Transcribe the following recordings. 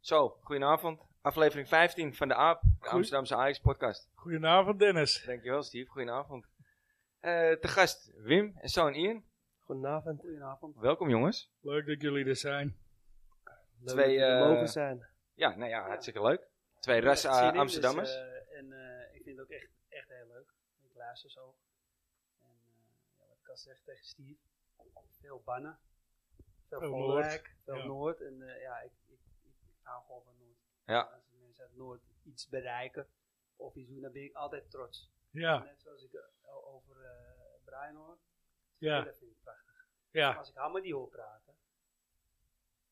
Zo, goedenavond. Aflevering 15 van de AAP, de Goed. Amsterdamse Ajax-podcast. Goedenavond Dennis. Dankjewel Steve, goedenavond. Eh te gast Wim en zoon Ian. Goedenavond. Goedenavond. Welkom jongens. Leuk dat jullie er zijn. Twee, dat jullie eh, mogen zijn. Ja, nou ja, hartstikke leuk. Twee ras Ik heb er zin in, eh, Amsterdammers. dus, eh, en eh, ik vind het ook echt, echt heel leuk. Ik luister zo. En eh, ja, wat ik al zeg tegen Steve. Veel bannen. Veel Veel volwijk. Veel ja. Noord. En eh, ja, ik, ik, ik hou gewoon van Noord. Ja. Als de mensen uit Noord iets bereiken of iets doen, dan ben ik altijd trots. Ja, Net zoals ik eh, o- over eh, Brian hoor. ja, Dat vind ik prachtig. ja. Als ik Hammer die hoor praten,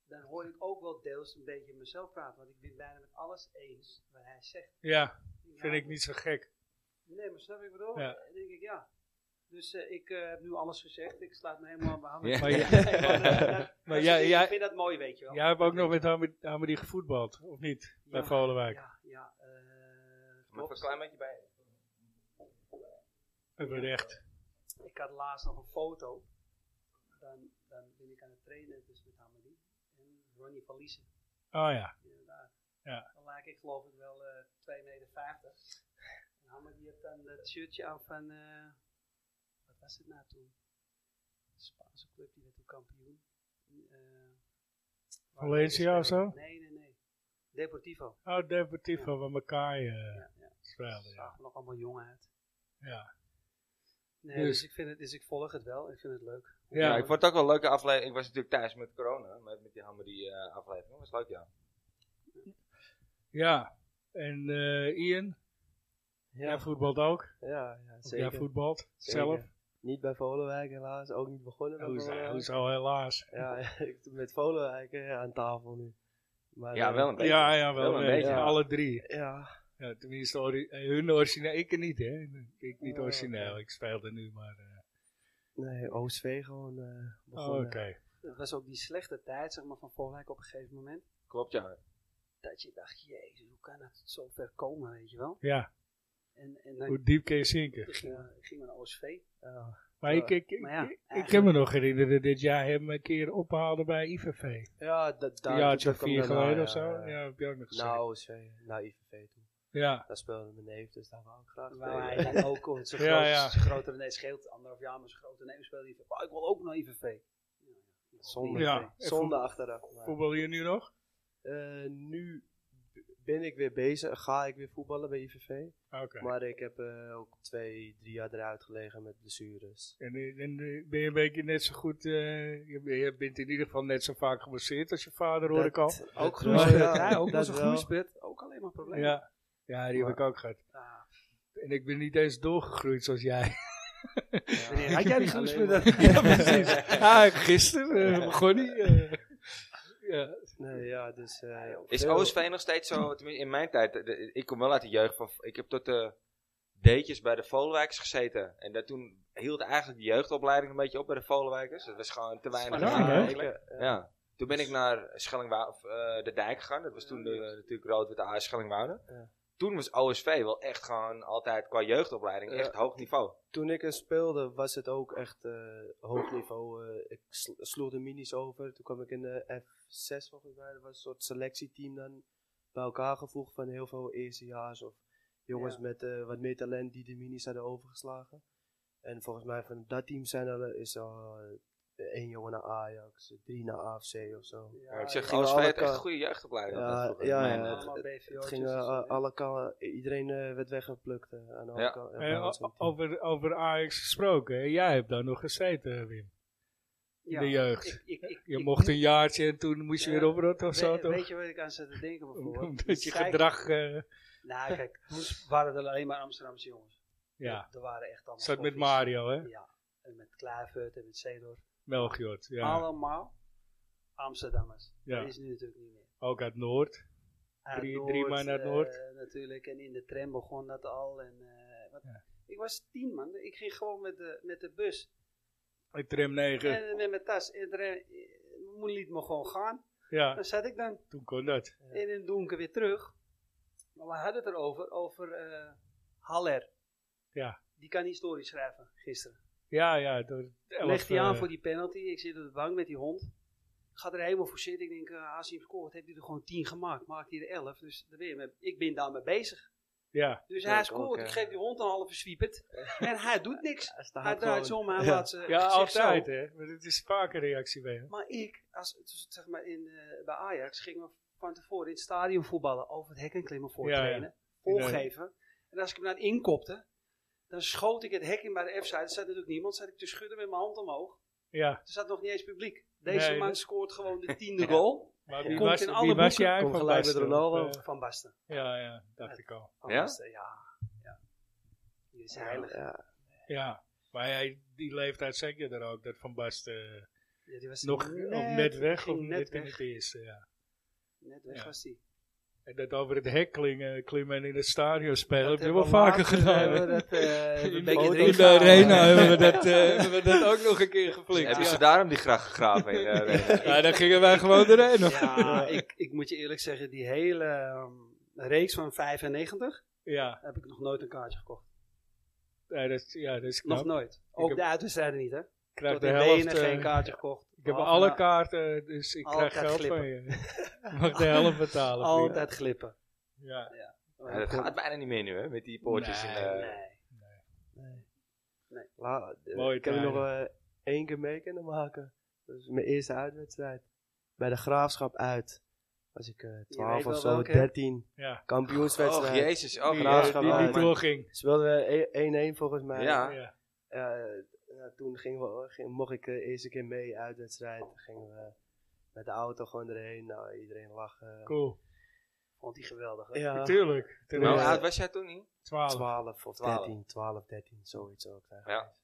dan hoor ik ook wel deels een beetje mezelf praten. Want ik ben bijna met alles eens wat hij zegt. Ja, Ja, vind ik niet zo gek. Nee, maar snap ik bedoel? Ja. Dan denk ik ja. Dus eh, ik eh, heb nu alles gezegd. Ik sluit me helemaal aan bij Hammer. Ja. Maar Ja, jij- maar, eh, dat- maar dat jij- is- ik jij- vind dat mooi, weet je wel. Jij hebt ook nog met Hamid- Hamidi gevoetbald, of niet? Bij Ja, Volenwijk. Ja, ja. eh, Moet ik klopt. een klein beetje bij. Dat werd echt. ik had laatst nog een foto. Dan, dan ben ik aan het trainen dus met Hammer die. En Ronnie van Liezen. Oh ja. Inderdaad. Ja. Dan lijk ik geloof ik wel eh 2,50 meter. En Hammer die heeft dan dat shirtje aan van, eh, wat was het nou toen? Een Spaanse club die werd toen kampioen. Eh, waar Valencia hij of zo? speelde. Nee, nee, nee. Deportivo. Oh, Deportivo van elkaar Ja, ja. speelde, ja. Zag er nog allemaal jong uit. Ja. Nee, dus, Dus- ik vind het, dus ik volg het wel. Ik vind het leuk. Ja, Ja. ik vond het ook wel een leuke aflevering. Ik was natuurlijk thuis met corona, met, met die hammer die eh, aflevering. Dat was leuk ja. Ja, en eh, Ian, jij Ja, voetbalt ook? ja, Of ja jij zeker. voetbalt Zeker. zelf? Niet bij Volenwijk helaas, ook niet begonnen bij Hoezo, Volenwijk. hoezo helaas. Ja, ik doe met Volenwijk eh, aan tafel nu. Maar, Ja, eh, wel een beetje. Ja, ja, wel, Wel een een beetje. beetje. Alle drie. Ja, Ja, tenminste, ori- eh, hun origineel. Ik niet, hè. Ik niet Oh, origineel. oké. Ik speelde nu maar... eh, nee, OSV gewoon eh oh, begonnen. Oké. Het was ook die slechte tijd zeg maar, van Volwijk op een gegeven moment. Klopt ja. Dat je dacht, jezus, hoe kan het zo ver komen, weet je wel? Ja, En, en dan hoe diep kun je zinken? ging, we- ging we naar OSV. Ja, Maar ik, ik, ik, Maar ja, ik- ik kan eigenlijk- me nog herinneren dat jij hem een keer ophaalde bij IVV. ja dat Een daar jaartje of dat kwam vier daarna, geleden ja, of zo. ja. Nou, Ja, heb je ook nog gezegd. Na OSV, na IVV toen. ja, Daar speelde mijn neef, dus daar wou ik graag Waar spelen. hij dan ook hoort, zijn, Ja, groot, ja. zijn grotere nee, scheelt anderhalf jaar, maar zijn grote neem speelde IVV. Oh, ik wil ook naar IVV. Zonde, Ja. ja. zonde achteraf. maar- voetbal je nu nog? Eh, nu b- ben ik weer bezig, ga ik weer voetballen bij IVV. Oké. Maar ik heb eh, ook twee, drie jaar eruit gelegen met blessures. En, eh, en eh, ben je een beetje net zo goed... eh, je, je bent in ieder geval net zo vaak geblesseerd als je vader, hoor ik al. Ook wel, groeispit, ja. ja, ook Dat nog zo'n wel. groeispit. Ook alleen maar problemen. Ja. ja, die heb ik ook gehad. Ah, En ik ben niet eens doorgegroeid zoals jij. meneer, had jij die groeispit? Alleen maar- ja, precies. Ah, gisteren eh, begon die. eh. ja. Nee, ja, dus... eh, Is veel- OSV nog steeds zo, tenminste in mijn tijd, de- ik kom wel uit de jeugd van, ik heb tot de deetjes bij de Volenwijkers gezeten. En dat toen hield eigenlijk de jeugdopleiding een beetje op bij de Volenwijkers. Dat was gewoon te weinig. Ja, aan, hè? ik, eigenlijk. eh, Ja. Toen ben ik naar Schellingwou of, eh, de Dijk gegaan. Dat was toen de, natuurlijk rood-witte AS Schellingwoude. Ja. Toen was OSV wel echt gewoon altijd qua jeugdopleiding echt hoog niveau. toen ik er speelde, was het ook echt eh, hoog niveau. eh, ik sl- sloeg de minis over. Toen kwam ik in de F6 volgens mij. Dat was een soort selectieteam dan bij elkaar gevoegd van heel veel eerstejaars of jongens Ja. met eh, wat meer talent die de minis hadden overgeslagen. En volgens mij van dat team zijn er is al eh, één jongen naar Ajax, drie naar AFC of zo. Maar ik zeg, gingen OSV alle had echt ka- een goede jeugdopleiding. Ja, altijd vroeger. ja, Mijn, ja. eh, het- allemaal BVO'tjes. Het ging eh, a- alle kanten, iedereen eh, werd weggeplukt eh, aan alle Ja. kanten. Eh, o- over, over Ajax gesproken. hè. Jij hebt daar nog gezeten, Wim. Ja, de jeugd. ik- ik- ik- Je ik- mocht een jaartje en toen moest je Ja, weer oprotten of we- zo, Weet toch? je wat ik aan zat te denken bijvoorbeeld? Omdat je Kijk, gedrag... eh, Nou, kijk, toen waren er alleen maar Amsterdamse jongens. ja, Er waren echt allemaal. zat met koffies. Mario, hè? Ja, en met Kluivert en met Zeedorf. Melchior, ja. Allemaal Amsterdammers. Ja. Dat is nu natuurlijk niet meer. Ook uit Noord. Uit Drie- drie man uit eh, Noord. natuurlijk, en in de tram begon dat al. En, eh, wat- Ja. Ik was tien man, ik ging gewoon met de, met de bus. Uit Tram 9. En met mijn tas. En de rem- mijn moeder liet me gewoon gaan. Ja, Dan zat ik dan toen kon dat. in het donker weer terug. Maar we hadden het erover, over eh, Haller. Ja. Die kan historisch schrijven, gisteren. Ja, ja. Door elf, Legt hij aan eh, voor die penalty. Ik zit op de bank met die hond. ga er helemaal voor zitten. Ik denk, eh, als hij hem scoort, heeft hij er gewoon 10 gemaakt. Maakt hij er 11. Dus daar ben je mee- ik ben daarmee bezig. Ja, Dus Ja, hij ik scoort. ook, ja. ik geef die hond een halve swiepert. en hij doet niks. Hij Hij staat draait gewoon. zo om, hij Ja. laat ze ja gezicht zo. altijd hè. Maar het is vaak een reactie bij hem. Maar ik, als, dus zeg maar in, eh, bij Ajax gingen we van tevoren in het stadion voetballen. Over het hek en klimmen voor Ja, ja. trainen. Volgeven. En als ik hem dan inkopte, dan schoot ik het hek in bij de F-side. Er zat natuurlijk niemand. zat ik te schudden met mijn hand omhoog. Ja, Er zat nog niet eens publiek. Deze Nee, man dat- scoort gewoon de tiende goal maar wie Komt was, in wie alle was boeken. jij Komt van gelijk met Basten? Ronaldo. Of, eh, van Basten. ja, ja, dacht ik al. Van Ja? Basten, ja. ja. Die is heilig. Ja, Ja, maar hij, die leeftijd zeg je er ook, dat Van Basten eh, Ja, die was nog of net weg ging of net net in weg. het eerste, ja. Net weg Ja. was die. En dat over het hek klingen, klimmen en in het stadion spelen, Dat heb je wel vaker gedaan. hè? Oh, dat, eh, In een de- beetje in erin de gehouden. arena hebben we dat, eh, hebben we dat ook nog een keer geflikt. Hebben ze Ja. daarom die graag gegraven in eh, Renen? ja, daar gingen wij gewoon doorheen. nog. Ja, ik, ik moet je eerlijk zeggen, die hele ehm, reeks van 95 ja, heb ik nog nooit een kaartje gekocht. nee, dat, is- ja, dat is Nog knap. nooit. Ook heb- de uitwedstrijden niet, hè? Ik Tot krijg de in helft. Wenen eh, geen kaartje gekocht. nou ik heb Behalve alle na- kaarten, dus ik Altijd krijg geld glippen. van je. Ik mag de helft betalen. vriend. Altijd glippen. Oh, Ja. Ja, dat gaat bijna niet meer nu, hè? Met die poortjes. in, Nee. eh, Nee. La, eh, Mooie ik heb er nog tijden. eh, één keer mee kunnen maken. Dat is mijn eerste uitwedstrijd. Bij de Graafschap uit. Was ik eh, 12 weet of wel zo, welke, hè? 13. Ja. Och, Kampioenswedstrijd. jezus. Oh, die, graag eh, graag gaan die, we die uit. doorging. Speelden we 1-1 volgens mij. Ja. Ja. Eh, ja, toen gingen we, ging- mocht ik de eerste keer mee uitwedstrijd. Toen gingen we met de auto gewoon erheen. Nou, iedereen lachen. Cool. Vond die geweldig. hè? Ja, Natuurlijk. Toen Nou, was hoe oud was jij toen niet? 12. 12 of 12. 13. 12, 13, zoiets ook. Ja. eigenlijk.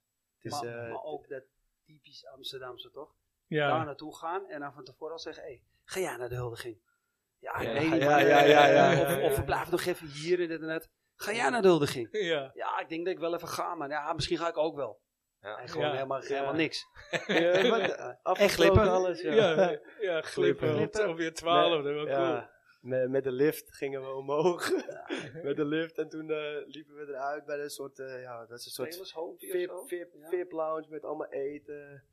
dus, Het is, maar, eh, maar ook dat typisch Amsterdamse, toch? Daar Ja. naartoe gaan en dan van tevoren al zeggen, hé, ga jij naar de huldiging? Ja, Ja, nee, ja, maar, ja, eh, ja, ja, of- ja, ja. Of we blijven nog even hier en dit en dat. Ga jij naar de huldiging? Ja. Ja, ik denk dat ik wel even ga, maar ja, misschien ga ik ook wel. Ja. En gewoon Ja. helemaal, helemaal Ja. niks. ja, maar de- afgesloten glippen. Alles, ja. Ja, ja, glippen. Glippen. Of je 12, dat was Ja, cool. met, met de lift gingen we omhoog. met de lift. En toen eh, liepen we eruit bij een soort, eh, ja, dat is een soort Vip, VIP, vip, VIP, ja. VIP lounge met allemaal eten.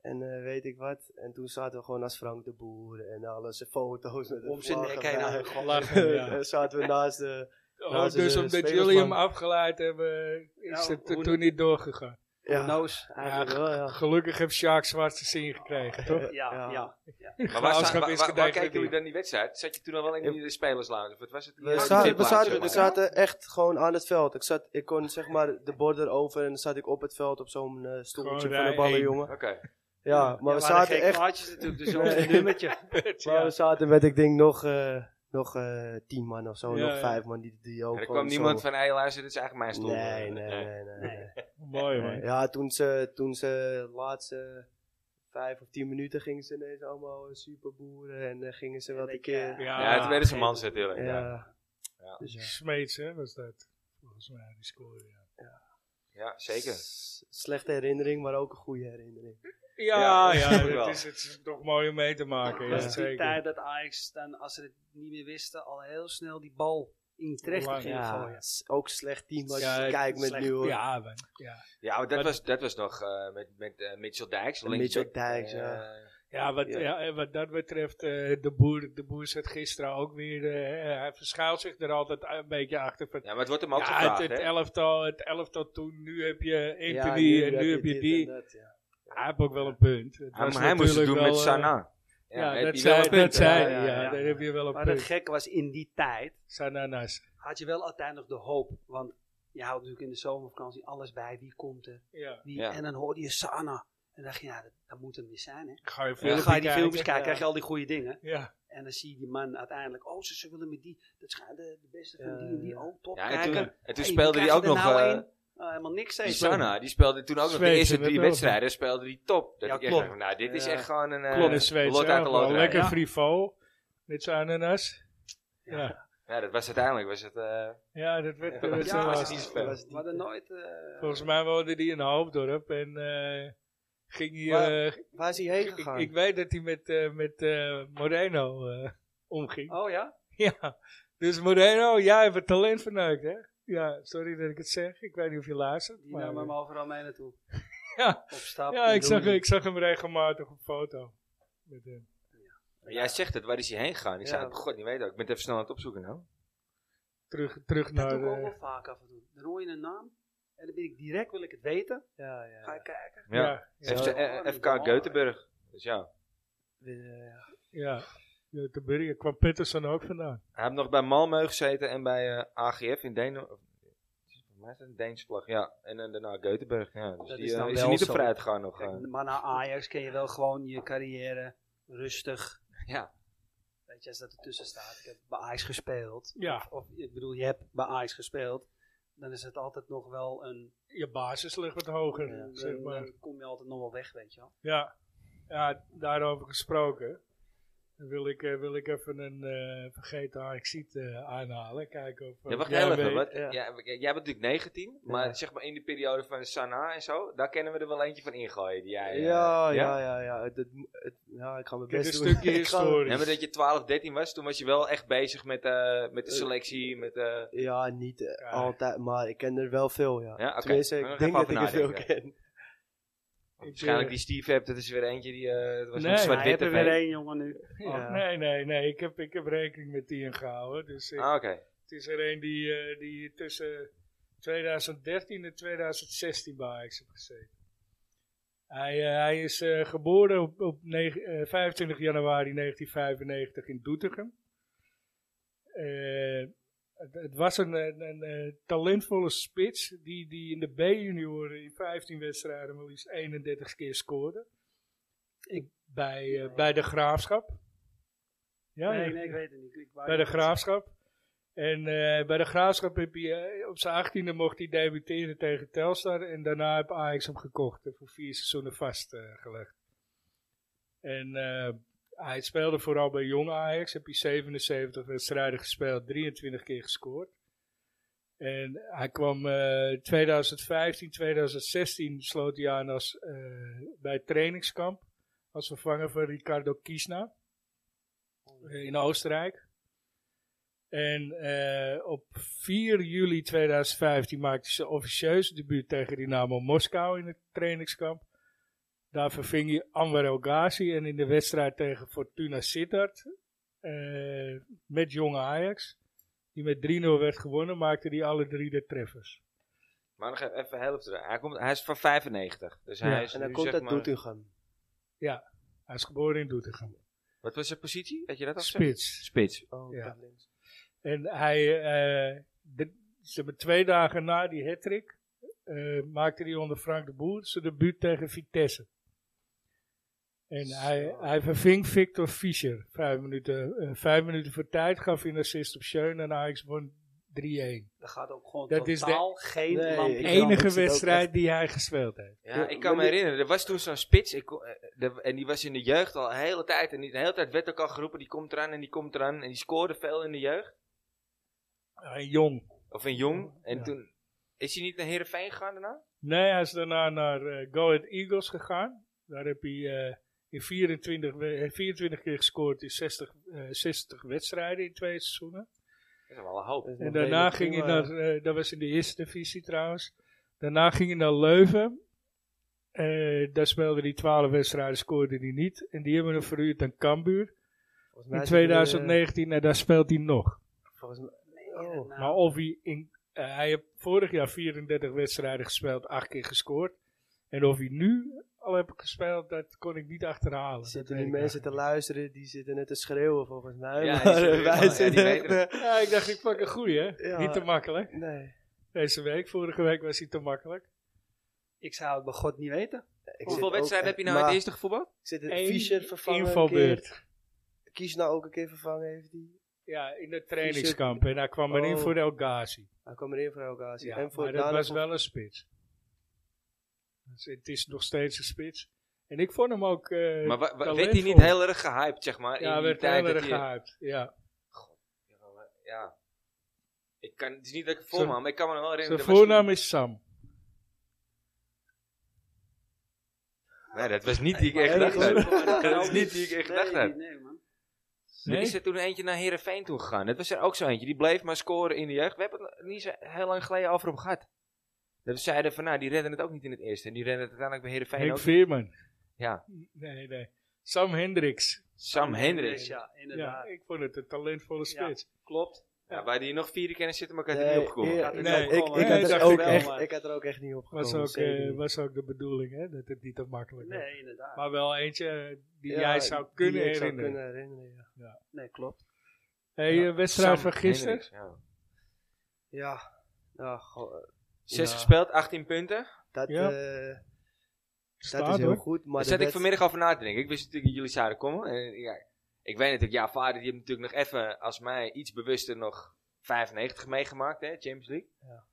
En eh, weet ik wat. En toen zaten we gewoon als Frank de Boer en alle zijn foto's met Om zijn nek heen aan. aan. Lachen, ja. zaten we naast de... Oh, Nou, ze dus de omdat spelersbank. jullie hem afgeleid hebben, is Nou, het er hoe- toen niet doorgegaan. Ja, Noos. eigenlijk wel, ja. Gelukkig heeft Sjaak zwart zijn zin gekregen, toch? Ja, ja. Maar waar, Graafschap sta- waar, waar, waar is gedenkelijk kijken jullie niet. dan die wedstrijd? Zat je toen al wel in die spelerslounge? Of wat was het? We, Ja, zaten, we, zitplaats, zaten, zeg we maar. zaten echt gewoon aan het veld. Ik, zat, ik kon zeg maar de border over en dan zat ik op het veld op zo'n eh, stoeltje van Gewoon de rij één. ballenjongen. Oké. Ja, maar we zaten geen echt plaatjes natuurlijk, dus zo'n Nee. nummertje. Maar we zaten met, ik denk, nog, eh, nog eh, tien man of zo, Ja, nog ja. vijf man die, die ook Er gewoon kwam niemand zo- van, hé luister, dit is eigenlijk mijn stoel. Nee, nee, nee. nee, Nee. nee. Mooi, man. Nee. Ja, toen ze, toen ze de laatste vijf of tien minuten gingen ze ineens allemaal eh, superboeren en eh, gingen ze wel een Weet keer... je, Ja, toen werden ze geen- mans natuurlijk. Ja, Ja. Ja. Dus ja. Smeets, hè, was dat. Volgens mij, die score, ja. zeker. S- Slechte herinnering, maar ook een goede herinnering. Ja, ja, dat dat wel. is, het is toch mooi om mee te maken. Ja, was het die zeker. tijd dat Ajax dan, als ze het niet meer wisten, al heel snel die bal in terecht Lang, ging gooien. s- ook slecht team als Ja, je kijkt met slecht- nu hoor. Ja, man. Ja. Ja, maar dat, Maar- was, dat was nog eh, met, met eh, Mitchell Dijks. Met linksback. Mitchell Dijks, Eh, ja. Ja, wat, Ja. ja, en wat dat betreft, eh, de, boer, de boer zit gisteren ook weer. eh, hij verschuilt zich er altijd een beetje achter. van- Ja, maar het wordt hem ook Ja, gevraagd, het, het hè? elftal, het elftal toen, nu heb je Ja, Anthony en nu heb je dit die. en dat, ja. Hij heeft ook wel een punt. Het Hij, was hij moest het natuurlijk doen wel, met eh, Sana. Ja, heb dat je wel zei, een punt, dat hè? zei Ja, hij, ja, ja, ja. daar heb je wel een Maar het punt. gekke was, in die tijd Sananas. had je wel altijd nog de hoop. Want je houdt natuurlijk in de zomervakantie alles bij. Wie komt er? Ja. Wie? Ja. En dan hoorde je Sana. En dacht je, ja, dat, dat moet hem weer zijn, hè? Ga je Dan filmpjes ga je die kijken. filmpjes kijken, Ja. krijg je al die goede dingen. Ja. En dan zie je die man uiteindelijk, oh, ze, ze willen met die, dat schijnt de, de beste van Ja, die en die, Eh, ja. oh, top, Ja, en kijken. toen, en toen Hey, speelde krijg hij je ook er nog... nou eh, één? Oh, helemaal niks Die steeds. Sana, die speelde toen ook nog de Zweedse eerste drie wedstrijd. wedstrijden, speelde die top. Dat Ja, ik echt klopt. dacht, nou, dit is Ja. echt gewoon een eh, Klopt, in Zweeds. lot uit de wel loterij. lekker Ja. frivol. Met zijn ananas. Ja. Ja, dat was uiteindelijk, was het... eh, Ja, dat werd dat werd Ja, zo was lastig. het niet zo we ver. hadden nooit... eh, Volgens mij woonde die in Hoofddorp en eh, ging hij... Maar- eh, Waar is hij heen ik, gegaan? ik weet dat hij met, eh, met eh, Moreno eh, omging. Oh ja? Ja, dus Moreno, jij hebt het talent verneukt, hè? Ja, sorry dat ik het zeg. Ik weet niet of je luistert. Die maar- nam hem overal mee naartoe. Ja. Op stap. ja, ik zag, doei. ik zag hem regelmatig op foto. Met hem. Maar jij zegt het, waar is hij heen gegaan? Ik Ja. zei, "Oh, god, niet weten. Ik ben het even snel aan het opzoeken nou. Terug, terug Dat naar... doe ik ook eh, wel vaak af en toe. Dan hoor je een naam en dan ben ik direct, wil ik het weten. Ja, Ga ik ja. kijken. Ja. ja, FC, ja, eh, eh, FK Göteborg. Dus ja. Ja, ja. Ja, te Burger kwam Pettersson ook vandaan. Hij heeft nog bij Malmö gezeten en bij eh, AGF in Denemarken. Volgens mij is het een Deens vlag, ja. En eh, daarna Göteborg, ja. Dus Dat die, is eh, dan is wel hij niet op zo. vrijheid gegaan nog. eh. Kijk, maar na Ajax ken je wel gewoon je carrière rustig. Ja. Weet je, als dat ertussen staat. Ik heb bij Ajax gespeeld. Ja, Of ik bedoel, je hebt bij Ajax gespeeld. Dan is het altijd nog wel een... je basis ligt wat hoger, dan, zeg dan- maar. dan kom je altijd nog wel weg, weet je wel. Ja, ja daarover gesproken. Dan wil ik, eh, wil ik even een eh, vergeten Ajaxiet eh aanhalen. Kijken of... Ja, of wacht jij heel even. weet- Wat, ja. ja. w- jij bent natuurlijk 19, maar zeg maar in de periode van Sana en zo, daar kennen we er wel eentje van ingooien. Die jij, eh, ja, ja. ja. Het, het, het- ja ik ga mijn Ik heb best een doen. stukje Ik ga- historie. Ja, maar dat je 12, 13 was, toen was je wel echt bezig met, eh, met de Eh, selectie, met... eh, Ja, niet eh, Ja. altijd, maar ik ken er wel veel, ja. Ah. Ja, oké. Tenminste, Dan ik gaan denk we dat ik even er veel nadenken. ken. waarschijnlijk die Steve hebt, dat is weer eentje die... eh het was Nee, een hij zwart witte één jongen nu. Ja. Ja. Nee, nee, nee. Ik heb, ik heb rekening met die ingehouden. Dus ik- Ah, oké. het is er een die, eh, die tussen 2013 en 2016 bij Ajax heeft gezeten. Hij, eh, hij is eh, geboren op, op negen- eh, 25 januari 1995 in Doetinchem. Eh, het, het was een, een, een, eh, talentvolle spits die, die in de B-junioren in 15 wedstrijden maar liefst 31 keer scoorde. Ik, bij, eh, bij de Graafschap. Ja, Nee, ja. nee, ik weet het niet. Ik wou Bij de niet- Graafschap. En eh, bij de Graafschap heb hij, eh, op zijn achttiende mocht hij debuteren tegen Telstar. En daarna heb Ajax hem gekocht en voor vier seizoenen vastgelegd. en eh, hij speelde vooral bij jong Ajax. Heb hij 77 wedstrijden gespeeld, 23 keer gescoord. En hij kwam eh 2015, 2016 sloot hij aan als, eh, bij het trainingskamp. Als vervanger van Ricardo Kiesna. eh, in Oostenrijk. En eh, op 4 juli 2015 maakte ze officieus debuut tegen Dynamo Moskou in het trainingskamp. Daar verving hij Anwar El Ghazi en in de wedstrijd tegen Fortuna Sittard eh, met jonge Ajax, die met 3-0 werd gewonnen, maakte hij alle drie de treffers. Maar nog even helft eruit. Hij, komt, hij is van 95, dus Ja, hij is En dan nu, komt zeg dat maar- Doetinchem. Hij is geboren in Doetinchem. Wat was zijn positie? Weet je dat al gezegd? Spits. Spits. Oh, Ja. dat links. En hij, eh de, zeg maar twee dagen na die hattrick eh, maakte hij onder Frank de Boer zijn debuut tegen Vitesse. En Zo. hij, hij verving Victor Fischer. Vijf minuten, eh, vijf minuten voor tijd gaf hij een assist op Schön en Ajax won 3-1. Er gaat ook gewoon Dat is de totaal geen Nee, lampje branden. ik Ja, De dat zit enige ook wedstrijd die hij gespeeld heeft. Ja, Ja, ik maar kan me die- herinneren. Er was toen zo'n spits. Ik, kon- eh, de- en die was in de jeugd al een hele tijd. En die, de hele tijd werd ook al geroepen. Die komt eraan en die komt eraan. En die scoorde veel in de jeugd. Hij jong. Of in jong. En Ja. toen... Is hij niet naar Heerenveen gegaan daarna? Nee, hij is daarna naar eh, Go Ahead Eagles gegaan. Daar heb hij eh, in 24, we- eh, 24 keer gescoord in 60, eh, 60 wedstrijden in twee seizoenen. Dat is wel een hoop. Dat is En nog daarna redelijk ging hij prima, naar, ja. eh, dat was in de eerste divisie trouwens. Daarna ging hij naar Leuven. Eh, daar speelde hij 12 wedstrijden, scoorde hij niet. En die hebben hem verhuurd aan Cambuur Volgens mij in zit hij, eh, 2019 en daar speelt hij nog. volgens mij- Nee, Oh. dat nou- Maar of hij, in, eh, hij heeft vorig jaar 34 wedstrijden gespeeld, 8 keer gescoord. En of hij nu al heeft gespeeld, dat kon ik niet achterhalen. Zitten Dat nu weet ik mensen te eigenlijk luisteren, die zitten net te schreeuwen volgens mij. Ja, die maar zitten er wij wel, ja, zitten die echt, weten niet. Ja, ik dacht, ik pak een goeie, hè? Ja. Niet te makkelijk. eh, Nee. Deze week, vorige week was hij te makkelijk. Ik zou het bij God niet weten. Ik zit Hoeveel ook- wedstrijden heb je nou maar in het eerste gevoetbal? Ik zit een Eén Fischer vervangen. invalbeurt. Een keer. Kies nou ook een keer vervangen heeft hij. Ja, in het trainingskamp. En hij kwam erin Oh. voor El Ghazi. Hij kwam erin voor elkaar. Ja, en voor maar dat Dana- was wel een spits. Dus het is nog steeds een spits. En ik vond hem ook... eh, Maar wa- wa- werd hij talentvol. niet heel erg gehyped, zeg maar? in Ja, die werd tijd heel dat erg hij- gehyped. Ja. Ja. Ik kan, het is niet dat ik vol Zo- maar ik kan me nog wel Zijn herinneren. er was voornaam is Sam. niet- Nee, dat was niet die ik Maar echt Nee, dacht. dat had. is- Dat is niet die ik echt Nee, dacht had. Nee, man. Nee? Is er toen eentje naar Heerenveen toe gegaan? Dat was er ook zo eentje. Die bleef maar scoren in de jeugd. We hebben het niet zo heel lang geleden over hem gehad. Dat we zeiden van, nou, die redden het ook niet in het eerste. En die redden het uiteindelijk bij Heerenveen Henk ook. Veerman. Ja. Nee, nee. Sam Hendricks. Sam Hendricks. Dus ja, Ja, inderdaad. ik vond het een talentvolle spits. Klopt. Ja, wij die nog vier kennen zitten, maar ik had er Nee, niet opgekomen. ja, Nee, nee, ik, ik, nee, had dacht er ik ook wel, echt, maar- ik had er ook echt niet op Was gekomen. ook, zeker eh, niet. was ook de bedoeling, hè? Dat het niet te makkelijk werd. Nee, inderdaad. Maar wel eentje eh, die Ja, jij zou kunnen die ik zou herinneren. kunnen herinneren, ja. nee, klopt. hey, Ja, eh, wedstrijd Sam van gisteren. Hendricks, ja. Ja, ja goh, eh, Zes Ja. gespeeld, 18 punten. dat, Ja. eh, dat Staat, is heel hoor. goed. Daar Maar de Dus zat ik wedst- vanmiddag over na te denken. Ik wist natuurlijk dat jullie zouden komen. En, ja, ik weet natuurlijk, ja, vader die heeft natuurlijk nog even, als mij iets bewuster, nog 95 meegemaakt, hè, Champions League. Ja.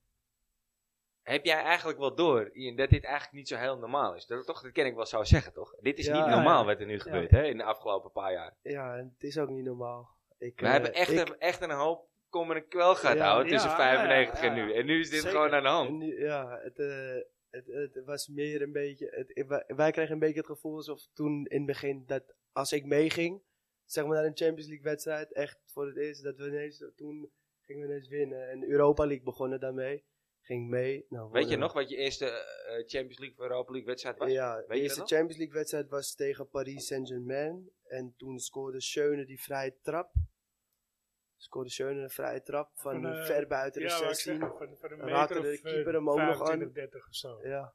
Heb jij eigenlijk wel door Ian, dat dit eigenlijk niet zo heel normaal is? Dat, toch, dat ken ik wel zo zeggen, toch? Dit is Ja, niet ja, normaal ja. wat er nu gebeurt hè, in de afgelopen paar jaar. Ja, en het is ook niet normaal. Ik, We eh, hebben echt, ik- een, echt een hoop kom en kwel gehad Ja, houden tussen ja, 95 ja, ja, en nu. ja. En nu is dit Zeker. gewoon aan de hand. En nu- ja, het, eh, het, het was meer een beetje. Het, ik- wij, wij kregen een beetje het gevoel alsof toen in het begin dat als ik meeging, zeg maar naar een Champions League wedstrijd, echt voor het eerst dat we ineens toen gingen we ineens winnen. En Europa League begonnen daarmee. Ging mee. Nou, Weet je wonnen nog wat je eerste eh, Champions League of Europa League wedstrijd was? we. Ja, je de dat eerste nog? Champions League wedstrijd was tegen Paris Saint-Germain. En toen scoorde Schöne die vrije trap. Scoorde Schöne een vrije trap van Van, eh, ver buiten de Ja, wou ik 16. zeggen, van, van een Dan meter raakte de of, eh, keeper hem ook nog aan. 25, 30 of zo. Ja. Dat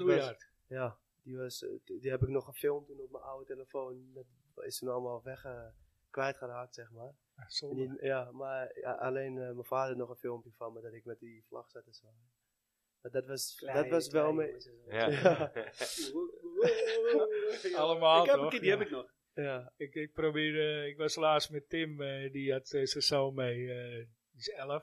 was- Snoeihard. Ja, die, was, eh, die die heb ik nog gefilmd toen op mijn oude telefoon. Dat is toen allemaal weg eh, kwijtgeraakt, zeg maar. Ja, En zonde. die- ja, maar ja, alleen eh, mijn vader had nog een filmpje van me dat ik met die vlag zat en zo. Maar dat was, dat was wel mee. Ja. Ja. Allemaal, ik heb toch? een keer, die Ja. heb ik nog. Ja, Ik, ik probeerde, ik was laatst met Tim, eh, die had eh, zijn zoon mee, eh, die is 11.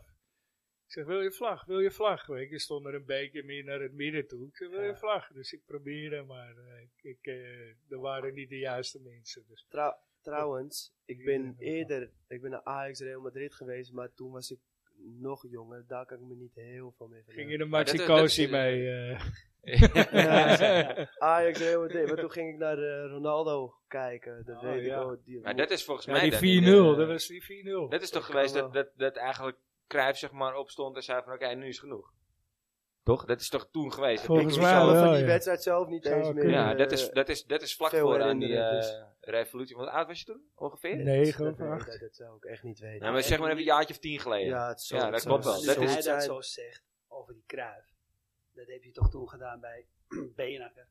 Ik zeg, wil je vlag, wil je vlag? Weet je, stond er een beetje meer naar het midden toe. Ik zeg, wil je Ja. vlag? Dus ik probeerde, maar eh, ik, ik, eh, er waren niet de juiste mensen. Dus. trou- trouwens, ik ben Ja. eerder ik ben naar Ajax Real Madrid geweest, maar toen was ik nog jonger. Daar kan ik me niet heel veel mee Ging herinneren. je de Maar dat- Maxi dat- Cosi dat- mee? eh. Ja. Ajax Real Madrid, maar toen ging ik naar eh, Ronaldo kijken. Dat Oh, weet ja. ik wel. Die- Maar dat is volgens ja, mij die 4-0, dan in de- dat was die 4-0. Dat is toch Dat geweest kan dat, dat, dat eigenlijk Cruijff zeg maar opstond en zei van oké, nu is genoeg. Toch? Dat is toch toen geweest? Dat Volgens ik Ik me mij zo- zou me wel, van die ja. wedstrijd zelf niet Zou eens wel meer. kunnen. Ja, eh, dat is, dat is, dat is vlak veel voor aan die herinneren, eh, dus. revolutie. Want hoe oud was je toen? Ongeveer? Ja, Negen dat of weet ik, acht. Dat, dat zou ik echt niet weten. Nou, maar zeg maar even een jaartje of tien geleden. Ja, het zou- Ja, dat het klopt zou- wel. het dat Dat zou hij is- goed dat zo zijn. zegt over die kruif. Dat heb je toch toen gedaan bij Benakker.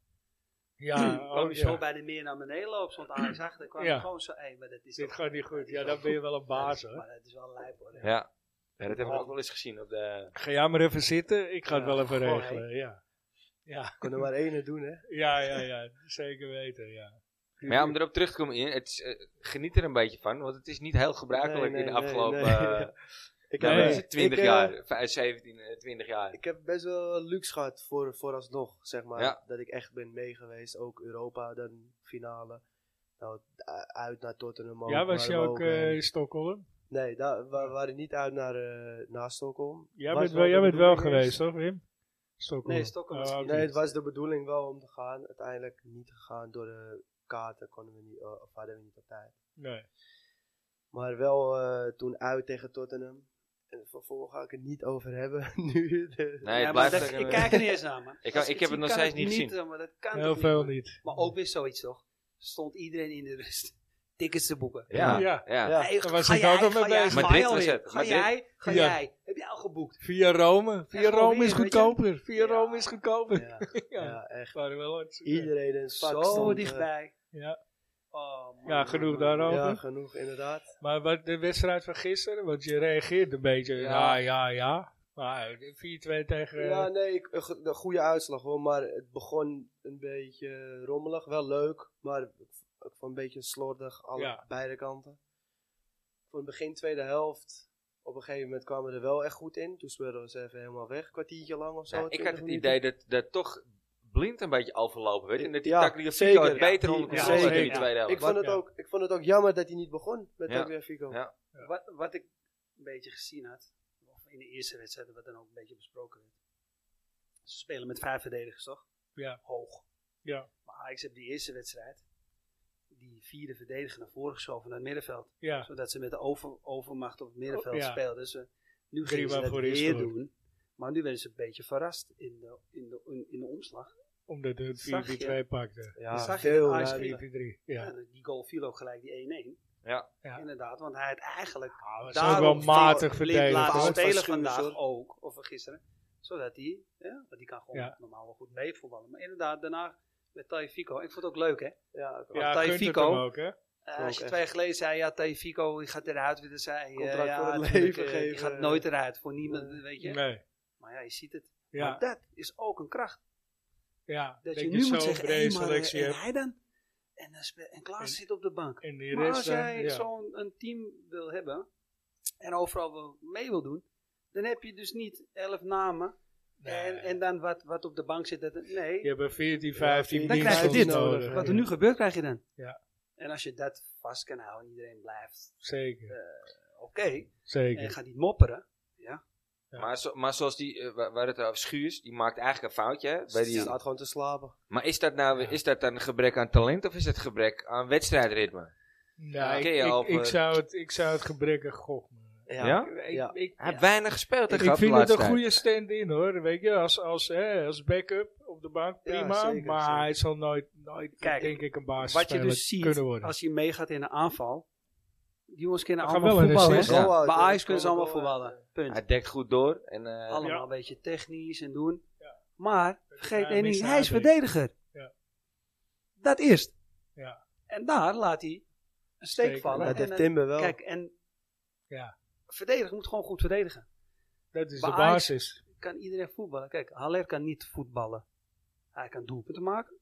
Ja, kwam oh, je zo ja. bij de meer naar beneden lopen, stond Ajax achter. kwam Ja. je gewoon zo hé, maar dat is Dit toch- gaat niet goed. dat is Ja, wel dan ben je wel een baas, Ja, hoor. Maar dat is wel lijp hoor. Ja. Ja, dat hebben we ook wel eens gezien. Op de, Ga jij maar even zitten, ik ga het Ja, wel even goh, regelen, ja. Ja, Ik kon er maar één doen, hè. ja, ja, ja, zeker weten, ja. maar ja, om erop terug te komen, Ian, het is, eh, geniet er een beetje van. Want het is niet heel gebruikelijk Nee, in de nee, nee, afgelopen nee. eh, Ik nou, Nee, wat heb, is eh, het, 20 ik, eh, jaar, vijf- 17, eh, 20 jaar. Ik heb best wel luxe gehad voor, vooralsnog, zeg maar. Ja. Dat ik echt ben meegeweest. Ook Europa, dan finale. Nou, eh, uit naar Tottenham. ook, Ja, was waren je we ook eh, eh, in Stockholm? nee, daar, we waren niet uit naar, eh, naar Stockholm. Jij Was bent wel, de jij bent wel bedoeling geweest, eerst. toch Wim? Stockholm. Nee, Stockholm was Ah, niet. oké. Nee, het was de bedoeling wel om te gaan. Uiteindelijk niet gegaan door de kaarten. Konden we niet, eh, of hadden we niet op tijd. Nee. Maar wel eh, toen uit tegen Tottenham. En vervolgens ga ik het niet over hebben nu. De- Ja, Nee, het maar blijft dat, er ik een- kijk er niet eens naar, man. Ik- Als ik heb zie, het nog kan steeds niet gezien. eh, Maar, dat kan Heel toch veel niet, man? niet. maar ook weer zoiets toch? Stond iedereen in de rust. Tickets te boeken. Ja, Ja. ja. eh, Ja, Hey, daar was ga ik jij, ook nog mee ga jij, bezig. ga Madrid jij was alweer. het, Ga Madrid. jij, ga Ja. jij. Heb jij al geboekt? Via Rome. Via Ja, Rome is alweer, weet je. goedkoper. Via Ja. Rome is goedkoper. Ja. Ja, ja. ja, echt. waren wel hartstikke- Iedereen in het vak Zo stond, eh, dichtbij. Ja. Oh, man, Ja, genoeg man, daarover. man. ja, genoeg inderdaad. Maar wat de wedstrijd van gisteren, want je reageert een beetje, Ja. ja, ja, ja. Maar eh, 4-2 tegen... eh, Ja, nee, ik, een go- een goede uitslag hoor. Maar het begon een beetje rommelig. Wel leuk, maar ook van een beetje slordig. Alle Ja. beide kanten. Voor het begin tweede helft. Op een gegeven moment kwamen we er wel echt goed in. Toen speelden we ze even helemaal weg. kwartiertje lang of zo. Ja, ik had 20 het minuten. idee dat, dat toch blind een beetje overlopen werd. En dat die Ja, Tagliafico het zeker. beter Ja, onder ja, controle had in die zeker. tweede Ik helft. vond, Wat- het ja. ook, ik vond het ook jammer dat hij niet begon met Ja. ja. Fico. Ja. Wat, wat ik een beetje gezien had, of in de eerste wedstrijd, wat dan ook een beetje besproken werd. Ze spelen met vijf verdedigers, toch? Ja. Hoog. Ja. Maar Ajax heeft die eerste wedstrijd, die vierde verdediger naar voren geschoven naar het middenveld. ja. Zodat ze met de over, overmacht op het middenveld Oh, ja. speelden. Dus eh, nu Drie gingen ze waar dat voor is weer door. doen. Maar nu werden ze een beetje verrast in de, in de, in, in de omslag. Omdat hun Zag je? 4-3-2 pakte. Ja, Zag je veel dat hij ruimte. spelen? 4-3, Ja, ja. die goal viel ook gelijk die 1-1. Ja. Ja. Inderdaad, want hij had eigenlijk dat is ook daarom Ah, wel matig Blind verdedigd. laten hoor. spelen Van vandaag Schuurs, ook, of van gisteren. Zodat hij, ja, want die kan gewoon Ja. normaal wel goed meevoetballen. Maar inderdaad, daarna met Tai Fico. Ik vond het ook leuk, hè? Ja, Ja. ja. Ja, Taï kunt het Fico. hem ook, hè? Eh, Ook als je echt. twee jaar geleden zei, ja, Tai Fico die gaat eruit. weer, Dan zei je, Contract ja, voor het natuurlijk, leven eh, Die geven. gaat nooit eruit voor niemand, weet je. Nee. Maar ja, je ziet het. Maar Ja, dat is ook een kracht. ja. Dat, dat je nu zo'n moet zeggen, hé, brede maar eh, selectie en hebt. hij dan? En, dan spe- en Klaas En- zit op de bank. En die Maar als rest dan, jij ja. zo'n een team wil hebben en overal wil, mee wil doen, dan heb je dus niet elf namen Nee. en, en dan wat, wat op de bank zit. Dat, nee, Je hebt een 14, 15 Ja, dan die krijg je kans dit. nodig. Wat er nu gebeurt, krijg je dan. Ja. En als je dat vast kan houden, iedereen blijft eh, Zeker, oké en zeker. gaat niet mopperen. Ja. Maar, zo, maar zoals die, eh, wa- waar het over Schuurs, die maakt eigenlijk een foutje. Hè, bij die, staat gewoon te slapen. Maar is dat nou Ja. is dat dan een gebrek aan talent of is het gebrek aan wedstrijdritme? Nou, ik, Ken je al, ik, ik eh, zou het, ik zou het gebrekkig gokken. Ja? Ik, Ja. ik, Hij heeft weinig gespeeld. hè, ik gehad de vind het laatste een tijd. goede stand-in hoor. Weet je, als, als, hè, als backup op de bank, Ja, prima. zeker, maar zeker. hij zal nooit, nooit Kijk, denk ik, een baas Wat je dus ziet kunnen worden. als je meegaat in een aanval, die jongens kunnen We gaan allemaal wel een voetballen. assist, hè? ja. Goal uit, Maar hè, Ajax dat kunnen ze kan allemaal wel, eh, voetballen. Punt. Hij dekt goed door. En, eh, Allemaal Ja. een beetje technisch en doen. Ja. Maar vergeet hij één ding, mist hij is Adrie. verdediger. Ja. Dat eerst. Ja. En daar laat hij een Steek. steek Ja, vallen. dat en heeft een- Timber wel. Kijk, en Ja. verdedigen moet gewoon goed verdedigen. dat is de bij Ajax- basis. Kan iedereen voetballen? Kijk, Haller kan niet voetballen. Hij kan doelpunten maken,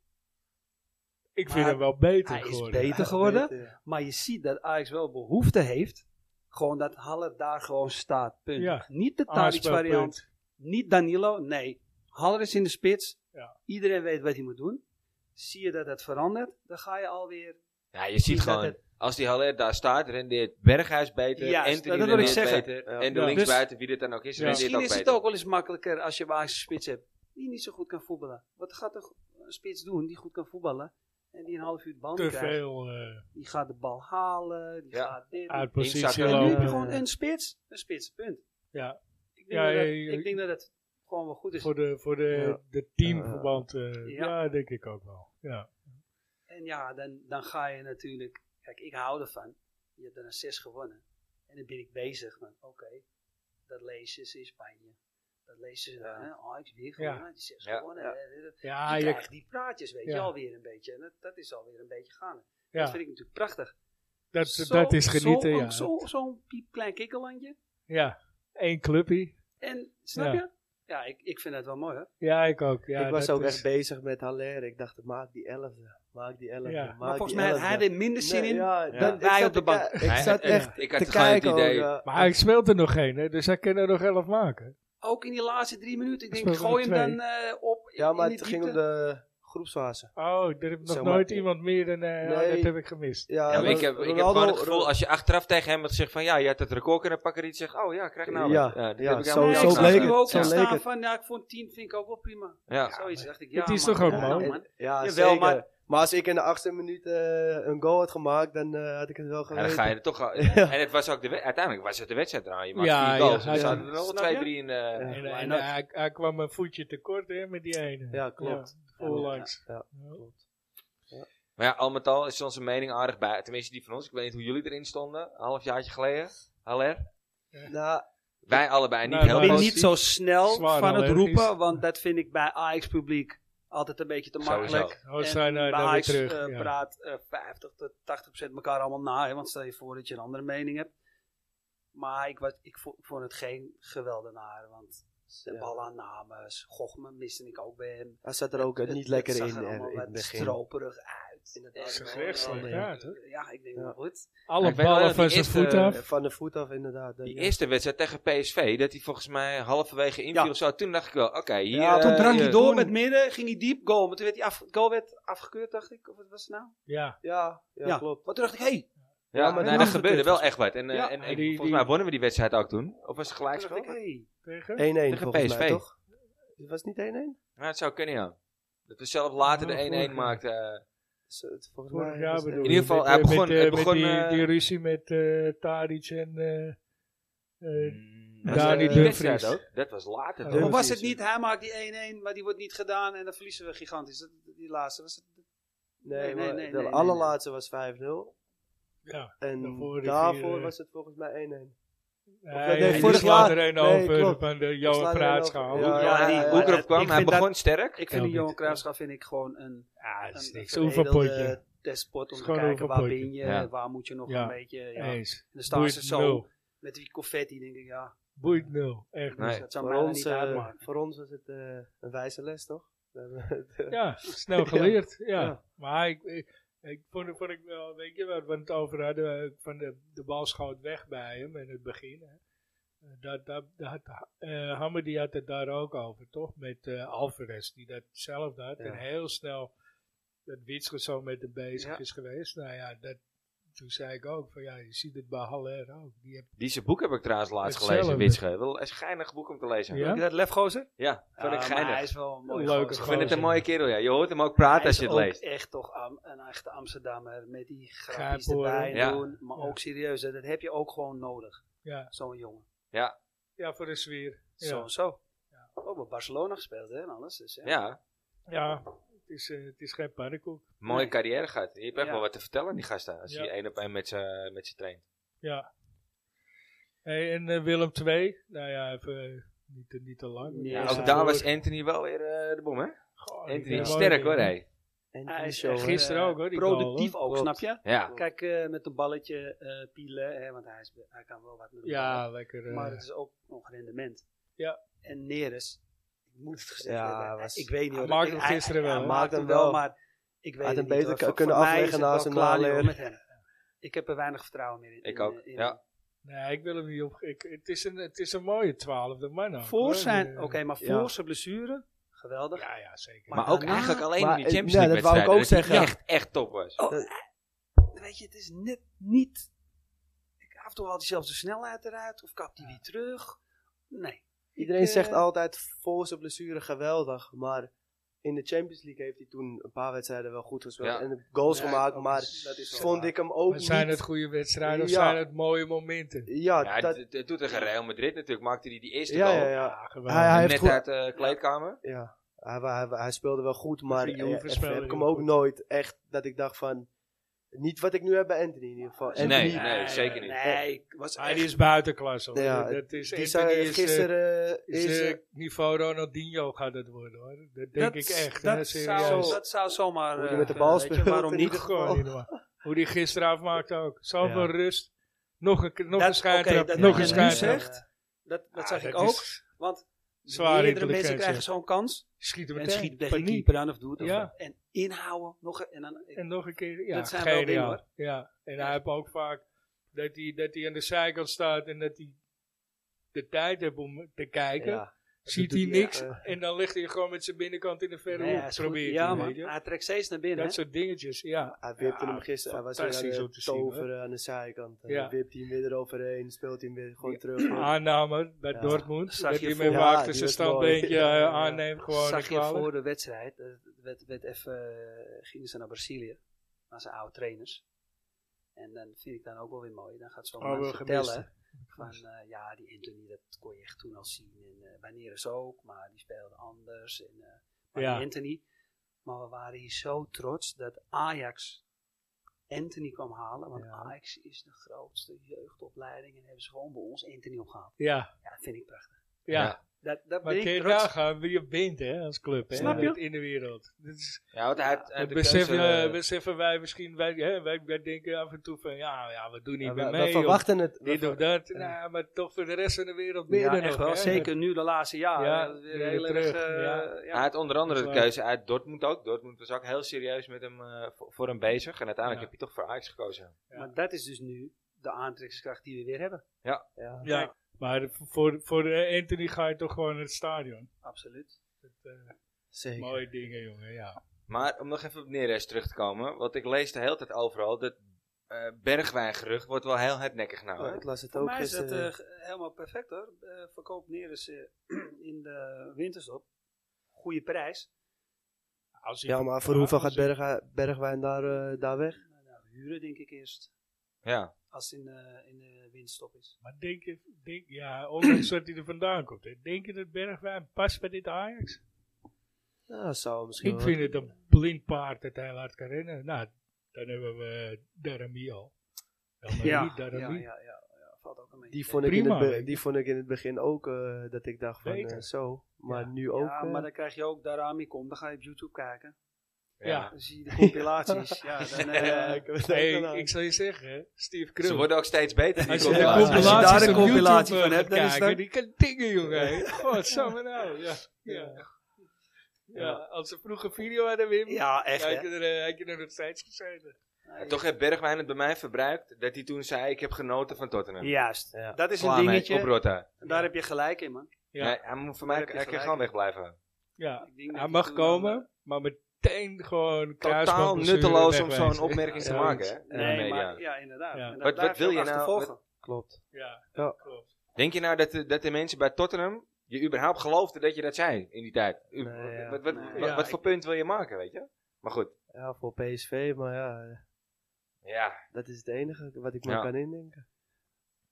Ik vind Maar hem wel beter hij is geworden. beter. Ja, geworden. beter, ja. maar je ziet dat Ajax wel behoefte heeft. Gewoon dat Haller daar gewoon staat. Punt. Ja. Ah, Niet de Tadic Aanspeelpunt. variant. Niet Danilo, nee. Haller is in de spits. Ja. Iedereen weet wat hij moet doen. Zie je dat het verandert, dan ga je alweer. ja, je ziet dat gewoon, het- als die Haller daar staat, rendeert Berghuis beter, Juist, Anthony dat wil ik rendeert zeggen. beter. Ja. En de Ja. linksbuiten, wie dit dan ook is, Ja. rendeert Misschien ook is beter. het ook wel eens makkelijker als je een Ajax spits hebt die niet zo goed kan voetballen. Wat gaat een, go- een spits doen die goed kan voetballen en die een half uur de bal niet Te krijgt? veel eh Die gaat de bal halen, die Ja. gaat dit. uit Inzakken. positie en nu heb je lopen. gewoon een spits, een spits, punt. Ja. Ik denk, Ja, dat, ja, ja. ik denk dat het gewoon wel goed is. Voor de, voor de, Ja. de teamverband. eh, Ja. ja. denk ik ook wel. Ja. En ja, dan, dan ga je natuurlijk. Kijk, ik hou ervan. Je hebt er een 6 gewonnen. En dan ben ik bezig met: oké, dat lezen ze in Spanje. Dat lezen ze. Ja. hè, Oh, ik weer Ja. gewonnen. Die 6 Ja. gewonnen. Ja. hè, hè, Ja, je je- krijgt die praatjes, weet Ja. je, alweer een beetje. En dat, dat is alweer een beetje gaande. ja, Dat vind ik natuurlijk prachtig. dat, Zo- dat is genieten, zo- ja. Zo'n zo piepklein kikkerlandje. Ja, één clubje. En, snap Ja. je? Ja, ik, ik vind het wel mooi, hoor. Ja, ik ook. Ja, ik was dat ook is- echt bezig met Haller. Ik dacht, maak die elfde. Maak die elfde. Ja. Maak Maar volgens die mij had elfde. hij er minder zin Nee, in. ja, dan dat- ik wij zat op de te bank. ki- Hij- Ik zat eh, echt ik had te gewoon het kijken. eh, ook, idee- ja. Maar hij speelt er nog geen, hè, dus hij kan er nog elf maken. Ook in die laatste drie minuten. Ik Dat denk, ik is wel gooi hem nummer dan eh, op. in- Ja, maar in het de ging om diepte. de groepsfase. Oh, er heeft nog Zeg maar- nooit iemand meer dan... eh, oh, Nee. dat heb ik gemist. Ja, maar dat- ik heb, ik heb Ronaldo- gewoon het gevoel, als je achteraf tegen hem had gezegd van ja, je had het record kunnen pakken, die zegt, oh ja, krijg nou Ja, wat. dit ja, heb ik zo- helemaal zo niks aan ik bleek gedaan. zag het. er ook zo in leek staan het. van, ja, ik vond 10 vind ik ook wel prima. Ja. Zoiets dacht ik, ja Het is man, toch ook ja, mooi? man. Ja, Jawel, zeker. maar- Maar, als ik in de achtste minuut eh, een goal had gemaakt, dan eh, had ik het wel En geweten. dan ga je er toch al, en het was ook de, we- uiteindelijk was het de wedstrijd eraan. Je maakt Ja, vier ja, goals, hij- dus er zaten er ja. nog Snap twee, je? drie in. eh, Ja. nou, En, why en not? hij, hij kwam een voetje tekort hè, met die ene. Ja, klopt. Onlangs. Ja, Ja. klopt. Maar ja, al met al is onze mening aardig bij. Tenminste, die van ons. Ik weet niet hoe jullie erin stonden. Een half jaartje geleden. Haller. Nou, Wij allebei niet Nee, heel maar- Ik ben positief. niet zo snel Zwaar van het allergisch. roepen, want dat vind ik bij Ajax publiek altijd een beetje te Sowieso. makkelijk. Oh, En zijn hij bij daar weer Ajax terug. eh, ja. praat eh, 50 tot 80 procent elkaar allemaal na, hè, want stel je voor dat je een andere mening hebt. Maar ik, was, ik vo- vond het geen geweldenaar, want de Ja. bal aan namens, Gochme miste ik ook bij hem. hij zat er ook eh, Het- niet lekker het in, zag er eh, allemaal in wat het begin. stroperig uit. Inderdaad. En- eh, Ze gerechtselijk, ja, toch? Ja, ik denk eh, Ja. wel goed. Alle Ik weet wel ballen dat van die zijn eerste- voet af. Eh, Van de voet af, inderdaad. dan, Die ja. eerste wedstrijd tegen PSV, dat hij volgens mij halverwege inviel Ja. of zo. Toen dacht ik wel, oké, hier... Ja, eh, toen drang hij hier- door met midden, ging hij diep, goal. Maar toen werd die af, goal werd afgekeurd, dacht ik. Of wat was het nou? Ja, Ja, ja, Ja. klopt. Maar toen dacht ik, hé, hey, Ja, Ja, maar maar dat er was gebeurde het wel echt wat. En, eh, Ja, en, en ik- die- volgens die- mij wonnen we die wedstrijd ook toen. Of was het toen dacht gelijkspel? ik, hey. tegen? 1-1 Tegen volgens PSV. mij, toch? Was het niet 1-1? Ja, het zou kunnen, ja. Dat we zelf later de Ja, vorig 1-1 jaar. maakten. eh. Is het Volgens Vorig mij jaar was het bedoel In ieder ik, geval, met, hij eh, begon- met, eh, hij met begon, die, eh, die ruzie met eh Tadic en eh Eh, Hmm. Was Dani dat die Dumfries. wedstrijd ook? Dat was later. toch? Oh. Of Dumfries, was het ja. niet, hij maakt die 1-1, maar die wordt niet gedaan en dan verliezen we gigantisch. Dat- Die laatste was het. Nee, Nee, nee, maar nee, de nee, nee, allerlaatste was 5-0. ja. En Daarvoor daarvoor, die vier, eh, was het volgens mij 1-1. Hij, nee, hij vorig slaat jaar- er een nee, over klopt. van de Johan slaat er een Praatschaal. over. Ja, Ja, Ja, die ja, Hoekerop ja, kwam, ik hij vind begon sterk. Ik vind die niet. Johan Cruijffschaal vind ik gewoon een, dat Ah, is een niks. Hoeveel potje? veredelde despot om Is te gewoon kijken waar overpotje. ben je, Ja. waar moet je nog Ja. een beetje. Ja. En Eens. dan staan ze Boeit zo nul. met die confetti, denk ik, ja, Boeit nul. Echt Nee. niet. dat zou Voor mij nou ons, niet eh, uitmaken. voor ons was het eh, een wijze les, toch? We hebben het, eh, Ja, snel geleerd. ja. Ja. Maar ik, ik, ik vond, het- vond ik wel, weet je waar we het over hadden, eh, van de, de bal schoot weg bij hem in het begin. Hè. Eh, Dat, dat, dat, had- eh, Hammer die had het daar ook over, toch? Met eh Alvarez, die dat zelf had. Ja. En heel snel dat Witsche zo met hem bezig Ja. is geweest. Nou ja, dat, toen zei ik ook van ja, je ziet het bij Haller ook. Die heeft, Die zijn boek heb ik trouwens laatst Hetzelfde. gelezen, Witsche. Wel een geinig boek om te lezen. Ja? Ja, Vind je dat lefgozer? vond ik Ja, maar Hij geinig. is wel een mooie Leuke gozer. Ik vind het een gozer. mooie kerel, ja. Je hoort hem ook Hij praten is als je het ook leest. echt toch Am- een echte Amsterdammer met die grapjes Grijp hoor, erbij hè? Ja. doen. Maar Ja. ook serieus, hè, dat heb je ook gewoon nodig, ja, zo'n jongen. ja, voor de sfeer. Ja, Zo en zo. Oh, bij Barcelona gespeeld hè, en alles. Dus, hè. Ja, ja het, is, eh, het is geen pannenkoek. mooie carrière gehad. Je hebt echt Ja. wel wat te vertellen aan die gasten. Als Ja. je één op één met ze met ze traint. Ja. Hey, en eh, Willem 2? Nou ja, even, eh, niet, te- niet te lang. Nee, Ja, Ja, ook daar was Anthony wel weer eh, de bom, hè? Oh, Goh, die Anthony kan is wel sterk, weer- hoor, hé. en Hij die is show, echt, hè. Gisteren eh, ook, hoor, die Productief goal, ook, Klopt. snap je? Ja. Kijk, eh, met een balletje eh, pielen, hè, want hij, is, hij kan wel wat met een Ja, lekker. bal. eh, Maar het is ook nog rendement. Ja. En Neres, ik moet het gezegd Ja, hebben, was- ik weet niet Hij hoor. maakte Ik- hem hij- gisteren wel, Hij hè? maakt hem wel, maar ik weet had hem het niet. beter hoor. k- Voor- kunnen voor mij is afleggen het naast wel een klaar nu, hoor, naler. met hem. Ik heb er weinig vertrouwen meer in. Ik in- ook, in- ja. Nee, ik wil hem niet op. Ik, het, is een, het is een mooie twaalfde man. ook, Voor hoor. zijn, oké, Eh, maar voor Ja. zijn blessure, geweldig. Ja, ja, zeker. Maar Maar ook daarna- eigenlijk alleen Maar, in eh, die Champions ja, League dat wou ik ook wedstrijden, dat hij zeggen. echt, echt top was. Oh, Dat- eh, weet je, het is net niet. Ik af en toe haalt hij zelfs de snelheid eruit of kapt hij weer terug. Nee. Iedereen Ik, eh, zegt altijd voor zijn blessure geweldig, maar in de Champions League heeft hij toen een paar wedstrijden wel goed gespeeld Ja. en goals Ja, gemaakt, ook maar is- dat is wel vond waar. ik hem ook Maar zijn niet... het goede wedstrijden of Ja. zijn het mooie momenten? ja, Ja, Oh, dat, dat, dat doet tegen Real Madrid natuurlijk. Maakte hij die eerste ja, goal. ja, Ah, ja. geweldig. Hij heeft net goed- uit eh, de kleedkamer. ja. Hij, wa- hij, wa- hij speelde wel goed, maar Voor eh, Juve eh, speelde heb ik hem hij ook goed. nooit echt dat ik dacht van... Niet wat ik nu heb bij Anthony in ieder geval. Nee, Anthony- nee, zeker niet. Nee, ik was Maar echt, die is buitenklasse. Hoor. Ja, dat is, Die Anthony zei is, eh, gisteren... eh, is, is, eh, eh, niveau Ronaldinho gaat het worden hoor. Dat denk ik echt. hè, Dat, zou, serieus. dat zou zomaar. Hoe die eh, met de bal weet je, speelt Waarom in niet? ieder geval. Gewoon niet normaal. Hoe die gisteren afmaakte ook. Zoveel rust. Nog een, nog Dat- een schijntrap. oké, dat nog wat een je nu schijntrap. zegt, Dat, dat Ah, zag ik dat ook. is- Want Zwaar meerdere intelligentie. mensen krijgen zo'n kans. schiet hem En meteen. schiet tegen de Paniek. keeper aan of doet. het. Ja. En inhouden. Nog, een- en dan, En nog een keer. Ja, Dat zijn wel geniaal. dingen, hoor. Ja. En hij heeft ook vaak dat hij, dat hij aan de zijkant staat en dat hij de tijd heeft om te kijken. ja. Ziet doet hij hij, ja. niks. Eh. En dan ligt hij gewoon met zijn binnenkant in de verre Nee, hoek. hij is goed. Probeert ja, hij, maar weet je. hij trekt steeds naar binnen. Dat hè. soort dingetjes, ja. Hij wipte Ja, hem gisteren. Hij was weer aan fantastisch om het te zien, hoor. toveren aan de zijkant. Ja. Hij wipt hij hem weer eroverheen. Speelt hij hem weer gewoon terug. Aanname bij Ja. Dortmund. Zag dat je hij voor- met Ja, wacht die zijn was standbeentje mooi. eh, Ja. aanneemt. Gewoon zag en je kwalijk. voor de wedstrijd, eh, werd, werd even, eh, gingen ze naar Brazilië, naar zijn oude trainers. En dan vind ik dan ook wel weer mooi. Dan gaat zo'n Oh, man wel vertellen gemist. van, eh, ja, die Anthony, dat kon je echt toen al zien. En eh bij Neres ook, maar die speelde anders. En, eh, maar Ja. die Anthony. Maar we waren hier zo trots dat Ajax Anthony kwam halen. Want Ja. Ajax is de grootste jeugdopleiding en hebben ze gewoon bij ons Anthony opgehaald. Ja, Ja, dat vind ik prachtig. ja. Ja. Dat, dat Maar ben kun je ik trots. nagaan wie je bent hè, als club hè, Snap je? in- in de wereld. Dat, is, Ja, want hij had, hij had dat de beseffen, keuze, eh, beseffen wij misschien, wij, hè, wij, wij denken af en toe van ja, ja we doen niet Ja, meer we, mee. we of verwachten het. we dit ver- of dat, nou, maar toch voor de rest van de wereld meer Ja, dan echt nog, wel. hè. Zeker nu de laatste jaren. Ja, dat is weer weer heel erg, terug, eh, ja. Hij ja. had onder andere Dat de is waar. keuze uit Dortmund ook. Dortmund was ook heel serieus met hem, eh, voor, voor hem bezig. En uiteindelijk Ja. heb je toch voor Ajax gekozen. Ja. Maar dat is dus nu de aantrekkingskracht die we weer hebben. Ja. Ja, maar voor, voor eh, Anthony ga je toch gewoon naar het stadion. Absoluut. Dat, eh, Zeker. mooie dingen jongen, ja. Maar om nog even op Neres terug te komen. Want ik lees de hele tijd overal dat eh Bergwijn-gerucht wordt wel heel hardnekkig nou. Ja, hè? Oh, ik las het Voor ook mij is dat gisteren. eh, ge- helemaal perfect hoor. Eh, verkoop neer eens eh, in de winterstop. Goede prijs. Als hij ja, maar voor hoeveel als gaat Bergha- Bergwijn daar, eh, daar weg? Nou, huren denk ik eerst. Ja. Als in, eh, in de winststop is. Maar denk je, denk, ja, ondanks dat hij er vandaan komt. Hè, denk je dat Bergwijn past bij dit Ajax? Nou, zou misschien Ik wel- vind het een blind paard dat hij laat kan rennen. Nou, dan hebben we eh, Darami al. Darami, ja, ja, Darami. ja, ja, ja, valt ook een beetje. Die vond, ik Prima, in het weet be- je. die vond ik in het begin ook eh, dat ik dacht van Beter. eh, zo. Maar Ja. nu ook. ja, eh, maar dan krijg je ook Darami komt. Dan ga je op YouTube kijken. Ja. Dan zie je de compilaties. ja, dan, eh, ja, ik heb het Hey, ook gedaan. ik zal je zeggen, hè, Steve Ze Krul. worden ook steeds beter. Die Als je, Ja, de compilaties. als je daar compilaties een op compilatie YouTube, van eh, hebt, gaat dan is kijken, dat- die kan dingen, jongen. Wat samen nou. Ja, ja. Ja. als ze vroeger video hadden, Wim, ja, echt had, hè. je er, eh, had je er nog steeds gezeten. En Eh, toch heeft Bergwijn het bij mij verbruikt dat hij toen zei: Ik heb genoten van Tottenham. Juist. Ja. Dat is Klaar een mee, dingetje. op Rotta. Ja. Daar heb je gelijk in, man. Ja. Nee, hij moet voor mij Daar heb je hij kan gelijk. gewoon wegblijven. Ja, Ik denk dat hij die mag toen dan, komen, maar meteen gewoon Totaal kruisbandblessure nutteloos om wegwijzen. zo'n opmerking te Ja, maken. zoiets. Hè? eh, in de nee, media. maar ja, inderdaad. Ja. En dat Wat- wat blijf je wil ook je nou- achtervolgen. Klopt. Ja, Ja. klopt. Denk je nou dat de, dat de mensen bij Tottenham je überhaupt geloofden dat je dat zei in die tijd? U- Nee, ja. wat, wat, Nee, wat, ja, wat ik- voor punt wil je maken, weet je? Maar goed, Ja, voor PSV, maar ja, eh, ja. dat is het enige wat ik me Ja. kan indenken.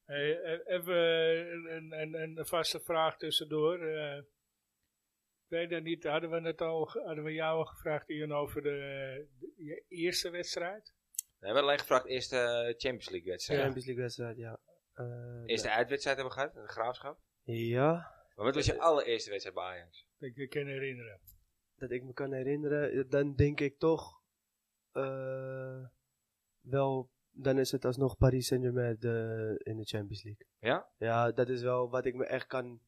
Hey, e- even eh, een, een, een, een vaste vraag tussendoor. eh. Ik weet dat niet, hadden we, het al, ge- hadden we jou al gevraagd, Ian, over de, de- je eerste wedstrijd? We hebben alleen gevraagd eerst de Champions League wedstrijd. Champions League wedstrijd, ja. Eh, Eerst de uitwedstrijd hebben we gehad, de graafschap. Ja, Maar wat was je allereerste wedstrijd bij Ajax? Dat ik je kan herinneren. dat ik me kan herinneren, eh, dan denk ik toch eh, wel, dan is het alsnog Paris Saint-Germain de- in de Champions League. Ja? Ja, dat is wel wat ik me echt kan,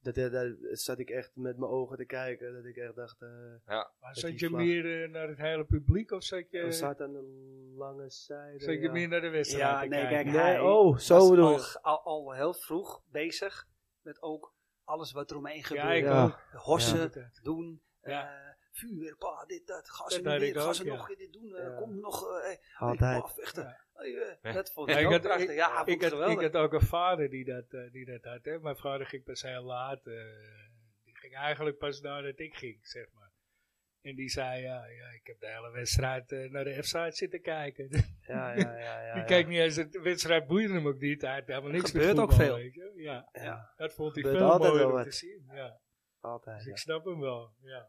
dat, eh, daar zat ik echt met mijn ogen te kijken, dat ik echt dacht, eh, Maar Met zat die je vlag. meer eh, naar het hele publiek of zat je, we zat zaten aan de lange zijde. je ja. meer naar de wedstrijd Ja, te nee, kijken? kijk, Nee, hij oh, was zo bedoel al, je. g- al, al heel vroeg bezig met ook alles wat eromheen Ja, ik gebeurde. Ja. ook. Horsen Ja. doen, Ja. eh, vuur, pa, dit, dat, ga ze Dat nu had ik weer, ga ook, ze ja. nog weer dit doen, eh, Ja. kom nog, eh, eh, Altijd. afvechten. Ja. Oh, eh, Dat vond Ja, ik ik, ook had, prachtig. ik, ja, vond ik, ik had, ik geweldig. had ook een vader die dat, eh, die dat had. Hè. Mijn vader ging pas heel laat. eh, die ging eigenlijk pas nadat ik ging, zeg maar. En die zei, ja, ja ik heb de hele wedstrijd eh, naar de F-site zitten kijken. die Ja, ja, ja. ja, ja. keek niet eens, de wedstrijd boeide hem ook niet. Hij had helemaal niks met Gebeurt ook voetbal, veel. weet je. Ja, Ja. dat vond hij Gebeurt veel altijd mooier wel om wat. te zien. Ja. Altijd. Dus ja. ik snap hem wel, ja.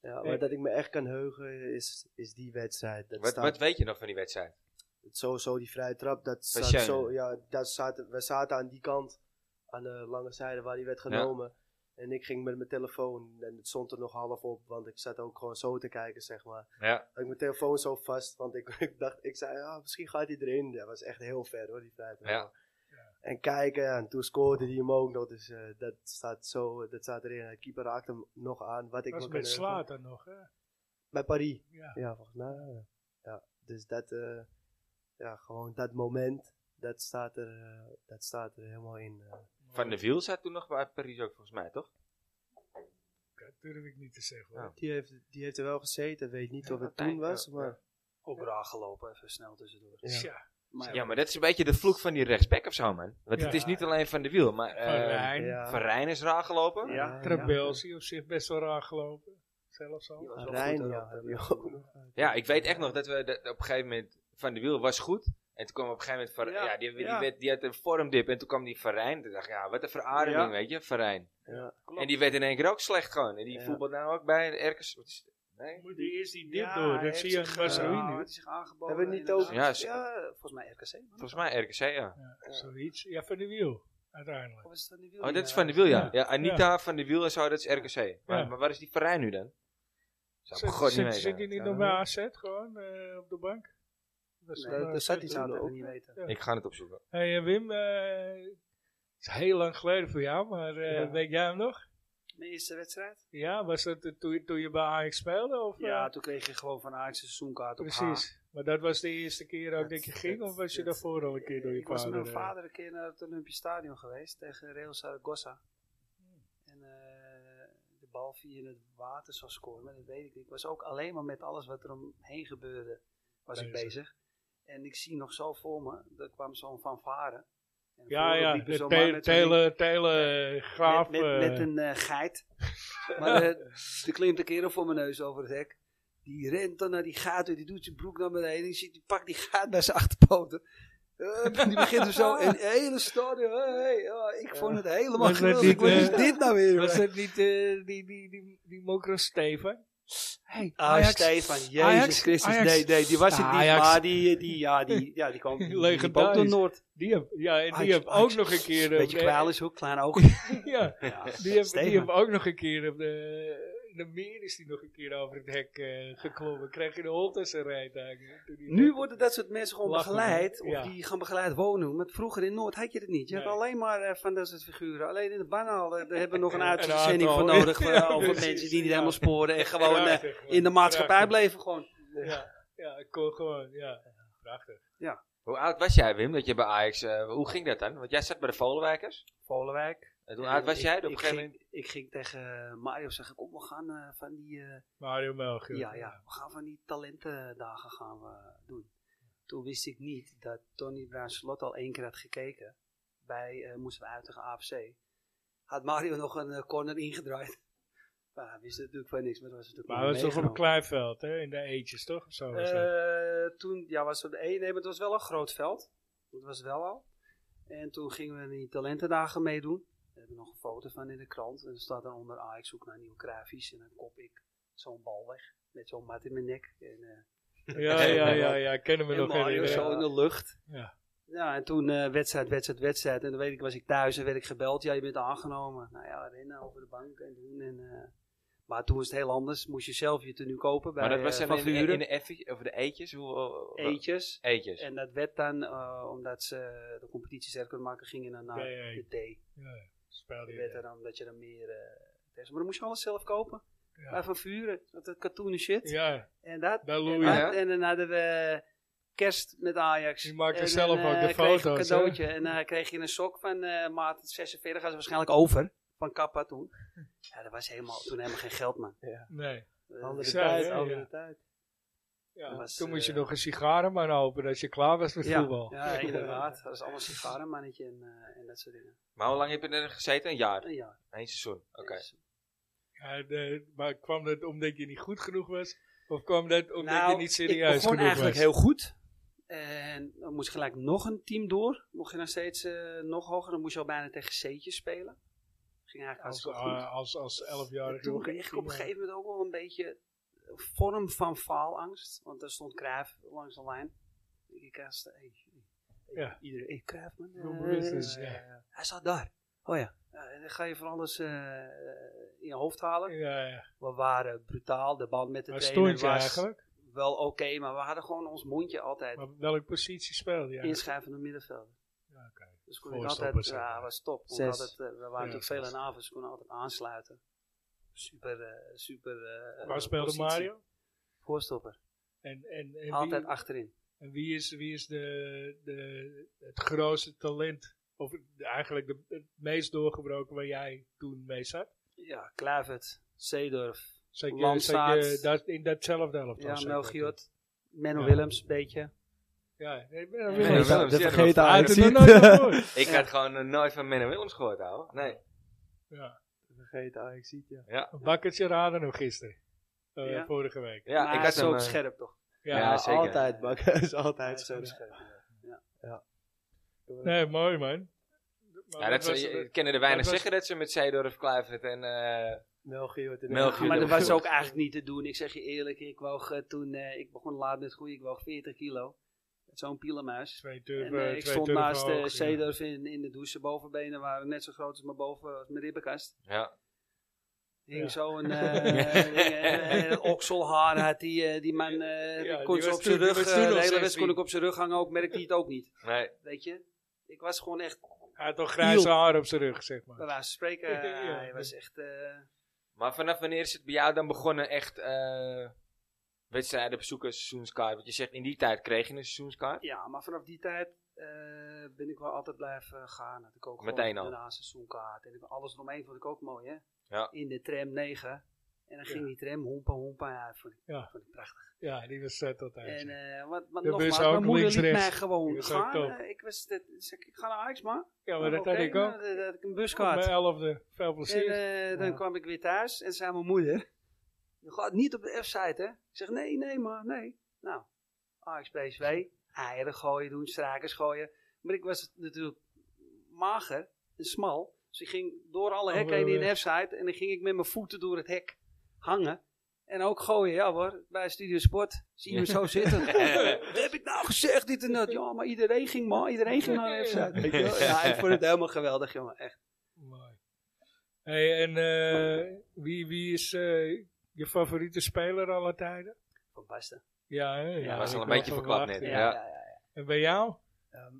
Ja, Hey. maar dat ik me echt kan heugen is, is die wedstrijd. Dat Wat, staat wat weet je nog van die wedstrijd? sowieso die vrije trap. Dat staat jij, zo, ja, dat zaten, we zaten aan die kant, aan de lange zijde waar die werd genomen. En ik ging met mijn telefoon en het stond er nog half op, want ik zat ook gewoon zo te kijken, zeg maar. Ja. Had ik mijn telefoon zo vast, want ik, ik dacht, ik zei, ah, misschien gaat hij erin. Dat was echt heel ver hoor, die vrije trap. Ja. En kijken, ja, en toen scoorde hij hem ook nog, dus eh, dat staat zo, dat staat erin. De keeper raakte hem nog aan, wat ik was me kan met heugen. Slater nog, hè. Bij Paris. Ja. Ja, volgens mij. wel, Ja. Ja, dus dat, eh, ja, gewoon dat moment, dat staat er, eh, dat staat er helemaal in. eh. Van de Wiel zat toen nog bij Paris ook volgens mij, toch? Dat durf ik niet te zeggen, hoor. Ja. Die, heeft, die heeft er wel gezeten, weet niet Ja, of het altijd, toen was, ja, maar Ook raar gelopen, even snel tussendoor. Ja. Tja, Maar Ja, maar dat is een beetje de vloek van die rechtsback of zo, man. Want het Ja. is niet alleen van de Wiel, maar... Van eh, Rijn, ja. Van Rijn is raar gelopen. Ja. Trabelsi op zich best wel raar gelopen. Zelfs al. Die was Ja, wel Rijn, goed, ja, hoor. heb je ook nog. Ja, ik weet echt nog dat we dat op een gegeven moment van de wiel was goed. En toen kwam op een gegeven moment van, ja, Ja, die, die, ja. werd- die had een vormdip. En toen kwam die Verijn. Toen dacht ik, ja, wat een verademing, Ja. weet je, Verijn. Ja. En die werd in één keer ook slecht gewoon. En die Ja. voetbal nou ook bij de ergens. wat is het? Nee? Moet je eerst die dip Ja, door, hij dat heeft zie je aan zich, Masrui eh, nu. heeft zich aangeboden. Hebben we niet inderdaad. ook- Ja, Ja, ze- volgens mij RKC. man. Volgens mij RKC, ja. Zoiets. Ja, van de wiel, uiteindelijk. Of is het van die wiel Oh, die, dat is eh, van de wiel, ja. Ja. Ja, Anita van de wiel en zo, dat is RKC. Maar, Ja. maar waar is die Verijn nu dan? Zou Zit, ik god niet zit, zit weten. hij niet Ja, nog dat bij weet AZ gewoon eh, op de bank? Dat is Nee, wel, daar eh, zat Ik hij zou toen het ook. even niet weten. Ja. Ik ga het opzoeken. Hey, eh, Wim, eh, het is heel lang geleden voor jou, maar eh, Ja. weet jij hem nog? Mijn eh, eerste wedstrijd? Ja, was dat eh, toen, je- toen je bij Ajax speelde? Of, Ja, eh, toen kreeg je gewoon van Ajax een seizoenkaart op precies. Maar dat was de eerste keer ook Dat- dat je ging, dat- of was je dat- daarvoor al een keer door je ik was met vader? mijn eh, vader een keer naar het Olympisch Stadion geweest tegen Real Zaragoza. En eh, de bal viel in het water zou scoren, maar dat weet ik niet. Ik was ook alleen maar met alles wat er omheen gebeurde, was ik Bezig. bezig. En ik zie nog zo voor me, er kwam zo'n fanfare. En Ja, voorop ja, liepen de zo'n man te- met zo'n tele, tele, eh, graaf. met, met, eh, met een eh, geit. maar eh, er klimt een kerel voor mijn neus over het hek. Die rent dan naar die gaten, die doet zijn broek naar beneden. Die, ziet, die pakt die gaat bij zijn achterpoten. Eh, die begint er zo in het hele stadion. Hey, ja, ik vond het helemaal Was dat geweldig. niet, Wat eh, is dit nou weer? Was jongen? dat niet eh, die, die, die, die mokro Steven? Hey, Ah, Ajax. Stefan, Jezus Ajax, Christus. Ajax. Nee, nee, die was het niet. Ajax. Maar die, eh, die, ja, die, ja, die kwam die liep ook Legendarisch. door Noord. Die heb, ja, en die Ajax, heb ook Ajax. nog een keer... eh, Beetje eh, kwaal is hoe klein ogen. Ja, Ja, die heb, die Stefan. heb ook nog een keer... Op de, in de meer is die nog een keer over het hek eh, geklommen. Kreeg je de hond als een rijtuig. Toen die- Nu worden dat soort mensen gewoon Lachen, begeleid. Of ja. die gaan begeleid wonen. Maar vroeger in Noord had je het niet. Je Nee. had alleen maar eh, van dat soort figuren. Alleen in de banal, eh, daar hebben we nog een Een uitzending aantal. voor nodig. Ja, Voor over precies, mensen die niet ja. helemaal sporen. En gewoon eh, Prachtig, man. in de maatschappij Prachtig. bleven gewoon. Ja, ja, ik kon gewoon, ja. Prachtig. Hoe oud was jij, Wim, dat je bij Ajax... eh, hoe ging dat dan? Want jij zat bij de Volenwijkers. Volenwijk. En hoe oud was Ik- jij? Op ik een gegeven moment... ging- Ik ging tegen eh, Mario zeggen, kom we gaan eh, van die... eh, Mario Melchior. Ja, ja, we gaan van die talentendagen gaan we doen. Toen wist ik niet dat Tony Bruinslot al één keer had gekeken. Bij, eh, moesten we uit tegen AFC. Had Mario nog een eh, corner ingedraaid. Maar hij wist natuurlijk van niks, maar dat was natuurlijk Maar dat was niet toch op een meegenomen. klein veld, hè? In de eetjes, toch? Of zo was dat. Eh, toen, ja, was het één, nee, maar het was wel een groot veld. Dat was wel al. En toen gingen we die talentendagen meedoen. We hebben nog een foto van in de krant. En er staat dan onder, ah, ik zoek naar nieuwe grafisch. En dan kop ik zo'n bal weg. Met zo'n mat in mijn nek. En, eh, Ja, ja, ja, ja, kennen we En nog Mario herinneren. zo in de lucht. Ja. Ja, en toen eh, wedstrijd, wedstrijd, wedstrijd. En dan weet ik, was ik thuis en werd ik gebeld. Ja, je bent aangenomen. Nou ja, rennen over de bank en doen. En, eh, maar toen was het heel anders. Moest je zelf je tenue kopen bij Maar dat was eh, dan Van in, in, Vuren. in de effe- of de eetjes? Hoe, eh, Eetjes. Eetjes. En dat werd dan, eh, omdat ze de competitie sterker konden maken, gingen dan naar Ja, ja, ja. de thee. Speelde Dat je werd er dan dat je dan meer... eh, test- maar dan moest je alles zelf kopen. Ja. Bij Van Vuren, dat dat katoenen shit. Ja, En dat. bij En, Louis. Ja. dan- en dan hadden we kerst met Ajax. Die maakte En zelf dan, ook eh, de kreeg ik foto's, Een cadeautje. En dan kreeg je een sok van eh maat 46, was waarschijnlijk over. Van Kappa toen. Ja, dat was helemaal, toen helemaal geen geld, man. Nee. Eh, Andere Zo, tijd, ja, andere ja. tijd. Ja. Dat was, Toen moest je eh, nog een sigarenman open als je klaar was met ja, voetbal. ja, inderdaad. Dat is allemaal sigarenmannetje en, eh, en dat soort dingen. Maar hoe lang heb je er gezeten? Een jaar. En ja, Eén seizoen. Oké. dus- Ja, Eh, de- maar kwam dat omdat je niet goed genoeg was? Of kwam dat omdat Nou, je niet serieus ik begon genoeg eigenlijk was? heel goed. En dan moest gelijk nog een team door. Mocht je dan steeds eh, nog hoger, dan moest je al bijna tegen C'tjes spelen. Ging eigenlijk als, hartstikke goed. ah, als, als En elfjarige. toen jongen. eh, kreeg ik op een gegeven moment ook wel een beetje vorm van faalangst. Want daar stond Cruijff langs de lijn. Ik kreeg hey, Ja. iedereen, hey, Cruijff man. Doe eh, bewust eens, ja. eh, Hij staat daar. Oh ja. Ja, en dan ga je van alles eh, in je hoofd halen. Ja, ja. We waren brutaal. De band met de Waar trainer stond je was eigenlijk? wel oké. maar we hadden gewoon ons mondje altijd. Maar op welke positie speelde je eigenlijk? Inschrijvend middenveld. Ja, oké. Dus kon ik Voorstoppers, altijd, zeg ja, maar. was top. We, Zes. altijd, eh, we waren natuurlijk veel zes. aan avonds, we konden altijd aansluiten. Super, eh, super. eh, Waar speelde positie. Mario? Voorstopper. En, en, en Altijd wie- achterin. En wie is, wie is de, de, het grootste talent? Of eigenlijk de, het meest doorgebroken waar jij toen mee zat? Ja, Kluivert, Seedorf, Zat je, Landstaat. zat je dat, in datzelfde helft? ja, Mel Giot, Menno Ja. Willems, een beetje. Ja, ik ben Ja, er dat wel. was- de ja, dat vergeten Uit Ajax. het nog nooit van gehoord. Ik Ja. had gewoon eh, nooit van Menno Willems gehoord, ouwe. Nee. Ja, De vergeten Ajax, ja. Ja. een bakkertje raden nog gisteren. Eh, Ja. Vorige week. Ja, Maar ik hij had is ook hem... eh, scherp toch? Ja. Ja, zeker. Altijd, bakken. is Hij altijd is ook zo. scherp. ja. Nee, mooi man. Maar Ja, dat was- ze, je- kennen er weinig dat was- zeggen dat ze met Zeedorf, Kluivert en... eh, Melchior. wordt in de- Melchior. Ah, Maar dat Willems. was ook eigenlijk niet te doen. Ik zeg je eerlijk, ik woog eh, toen, eh, ik begon laat met groeien, ik woog 40 kilo. Met Zo'n pielenmuis. Twee En, turven, eh, twee ik stond turven naast hoog, eh ja. Seedorf in, in de douche. Zijn bovenbenen waren net zo groot als mijn, boven, als mijn ribbenkast. ja. Hing Ja. zo een eh, eh, okselhaar had die, eh, die man. eh, Ja, die kon die ze was op zijn toen- die rug. was eh, toen de nog hele wedstrijd kon 16. ik op zijn rug hangen, ook merkte hij het ook niet. Nee. Weet je, ik was gewoon echt, Hij had toch grijze Heel. haar op zijn rug, zeg maar. bij wijze van spreken, eh, Ja. hij was echt. eh, Maar vanaf wanneer is het bij jou dan begonnen echt... eh, wedstrijden bezoeken, seizoenskaart? Want je zegt, in die tijd kreeg je een seizoenskaart. ja, maar vanaf die tijd eh, ben ik wel altijd blijven gaan. Had ik ook Meteen al. gewoon een seizoenkaart. En ik- alles eromheen vond ik ook mooi, hè? Ja. In de tram 9. En dan Ja. ging die tram hompa hompa. Ja, vond ik, Ja. vond ik prachtig. Ja, die was zet altijd. En eh wat, wat De bus nogmaals, ook mijn moeder links, liet mij rechts. Die gewoon was ook gaan. top. eh, ik, was, dat, zeg, ik ga naar Ajax, maar. ja, maar dat Oké, had ik ook. nou, dan had ik een Op buskaart. mijn En elfde, veel plezier. eh, dan Ja. kwam ik weer thuis en zei mijn moeder: Je gaat niet op de F-site, hè? Ik zeg: Nee, nee, maar nee. Nou, AXPSW. eieren gooien doen, strakers gooien. Maar ik was natuurlijk mager en smal. Dus ik ging door alle hekken heen in de F-site. En dan ging ik met mijn voeten door het hek hangen. En ook gooien, ja hoor, bij Studio Sport. Zie je hem zo zitten. Wat heb ik nou gezegd, dit en dat. Ja, maar iedereen ging maar, iedereen ging naar de F-site. weet je wel. Ja, ik vond het helemaal geweldig, jongen, echt. Mooi. Hey, en eh, wie, wie is eh, je favoriete speler alle tijden? Van Basten. Ja, hè? ja, was ik al een had beetje verklapt verwacht, net. ja. Ja. En bij jou? Ehm,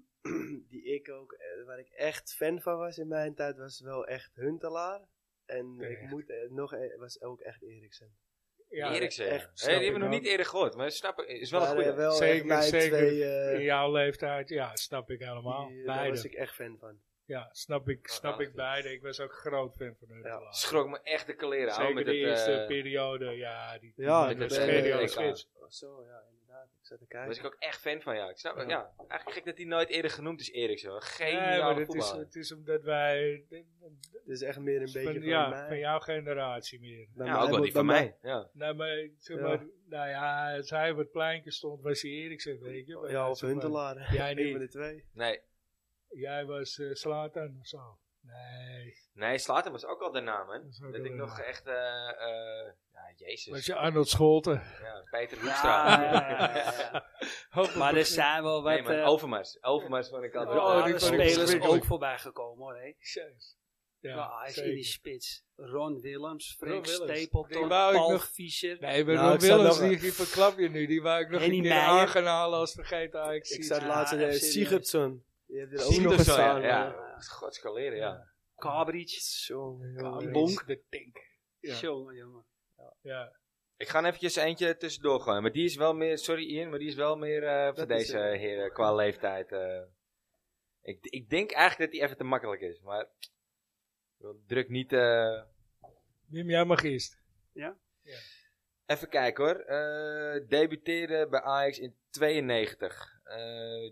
die ik ook, eh, waar ik echt fan van was in mijn tijd, was wel echt Huntelaar. En ik Terecht. moet eh, nog, eh, was ook echt Eriksen. Ja, Eriksen. echt, Hey, snap die ik hebben we nog ook. niet eerder gehoord, maar snap ik, is wel een Maar, eh, goede. wel echt Zeker, mijn zeker. twee, eh, In jouw leeftijd, ja, snap ik helemaal. die, eh, daar beide. was ik echt fan van. Ja, snap ik, Ja, snap ik aardig. beide. Ik was ook groot fan van hun. Schrok me echt de kleren aan Zeker met de het... eerste eh, periode, ja. Die, Ja, met met het het, eh, schedel EK. spits. Oh, zo, ja, inderdaad. Ik zat te was ik kijken. ook echt fan van, ja. Ik snap, ja. Eigenlijk gek dat hij nooit eerder genoemd is, Eriksen. Geen Nee, maar ja, het is, eh, voetballer. het is omdat wij... Het is echt meer een beetje Van, van ja, mij. van jouw generatie meer. Bij Ja, mij ook wel moet- die van bij mij. Ja. Nou, maar, zeg Ja. maar, nou ja, als hij op het pleintje stond, was hij Eriksen, weet je. Maar Ja, of zeg maar, Huntelaar. Jij Een niet. van de twee. Nee. Jij was eh, Slatan of zo. Nee. Nee, Slater was ook al de naam, hè. Dat is ook Dat wel ik nog een- echt... eh eh, ja, Was jezus. je Arnold Scholten? Ja, Peter Hoekstra. Ja, ja, ja, ja. Maar er zijn wel wat... Nee, maar eh, Overmars. Overmars vond ik altijd... Ja, rare Oh, die vond ik spelers verschrikkelijk. ook voorbij gekomen hoor. Hè. Jezus. Ja, Ja, hij is in zeker. die spits. Ron Willems, Frank Ron Willems. Die Stapleton, wou ik Paul nog- Fischer. Nee, maar Nou, Ron ik zou Willems, nog- die, die verklap je nu. Die wou ik nog Henny een keer Meijer. aan gaan halen als vergeten Ajax. Ik zat Ja, laatst Ah, in eh, serieus. Sigurdsson. Die heeft er ook nog Siemens, eens ja. staan. ja. eh, Gods kleren, ja. Kabric. Jongen, jongen. Kamer Bonk. is De tink. Ja. Jongen, jongen. Ja. Ik ga eventjes eentje tussendoor gooien. Maar die is wel meer... Sorry Ian, maar die is wel meer eh, voor is deze het. heren qua leeftijd. eh. ik, ik denk eigenlijk dat die even te makkelijk is. Maar ik druk niet... eh, Wim, jij mag eerst. Even kijken hoor. Eh debuteerde bij Ajax in 92. Eh,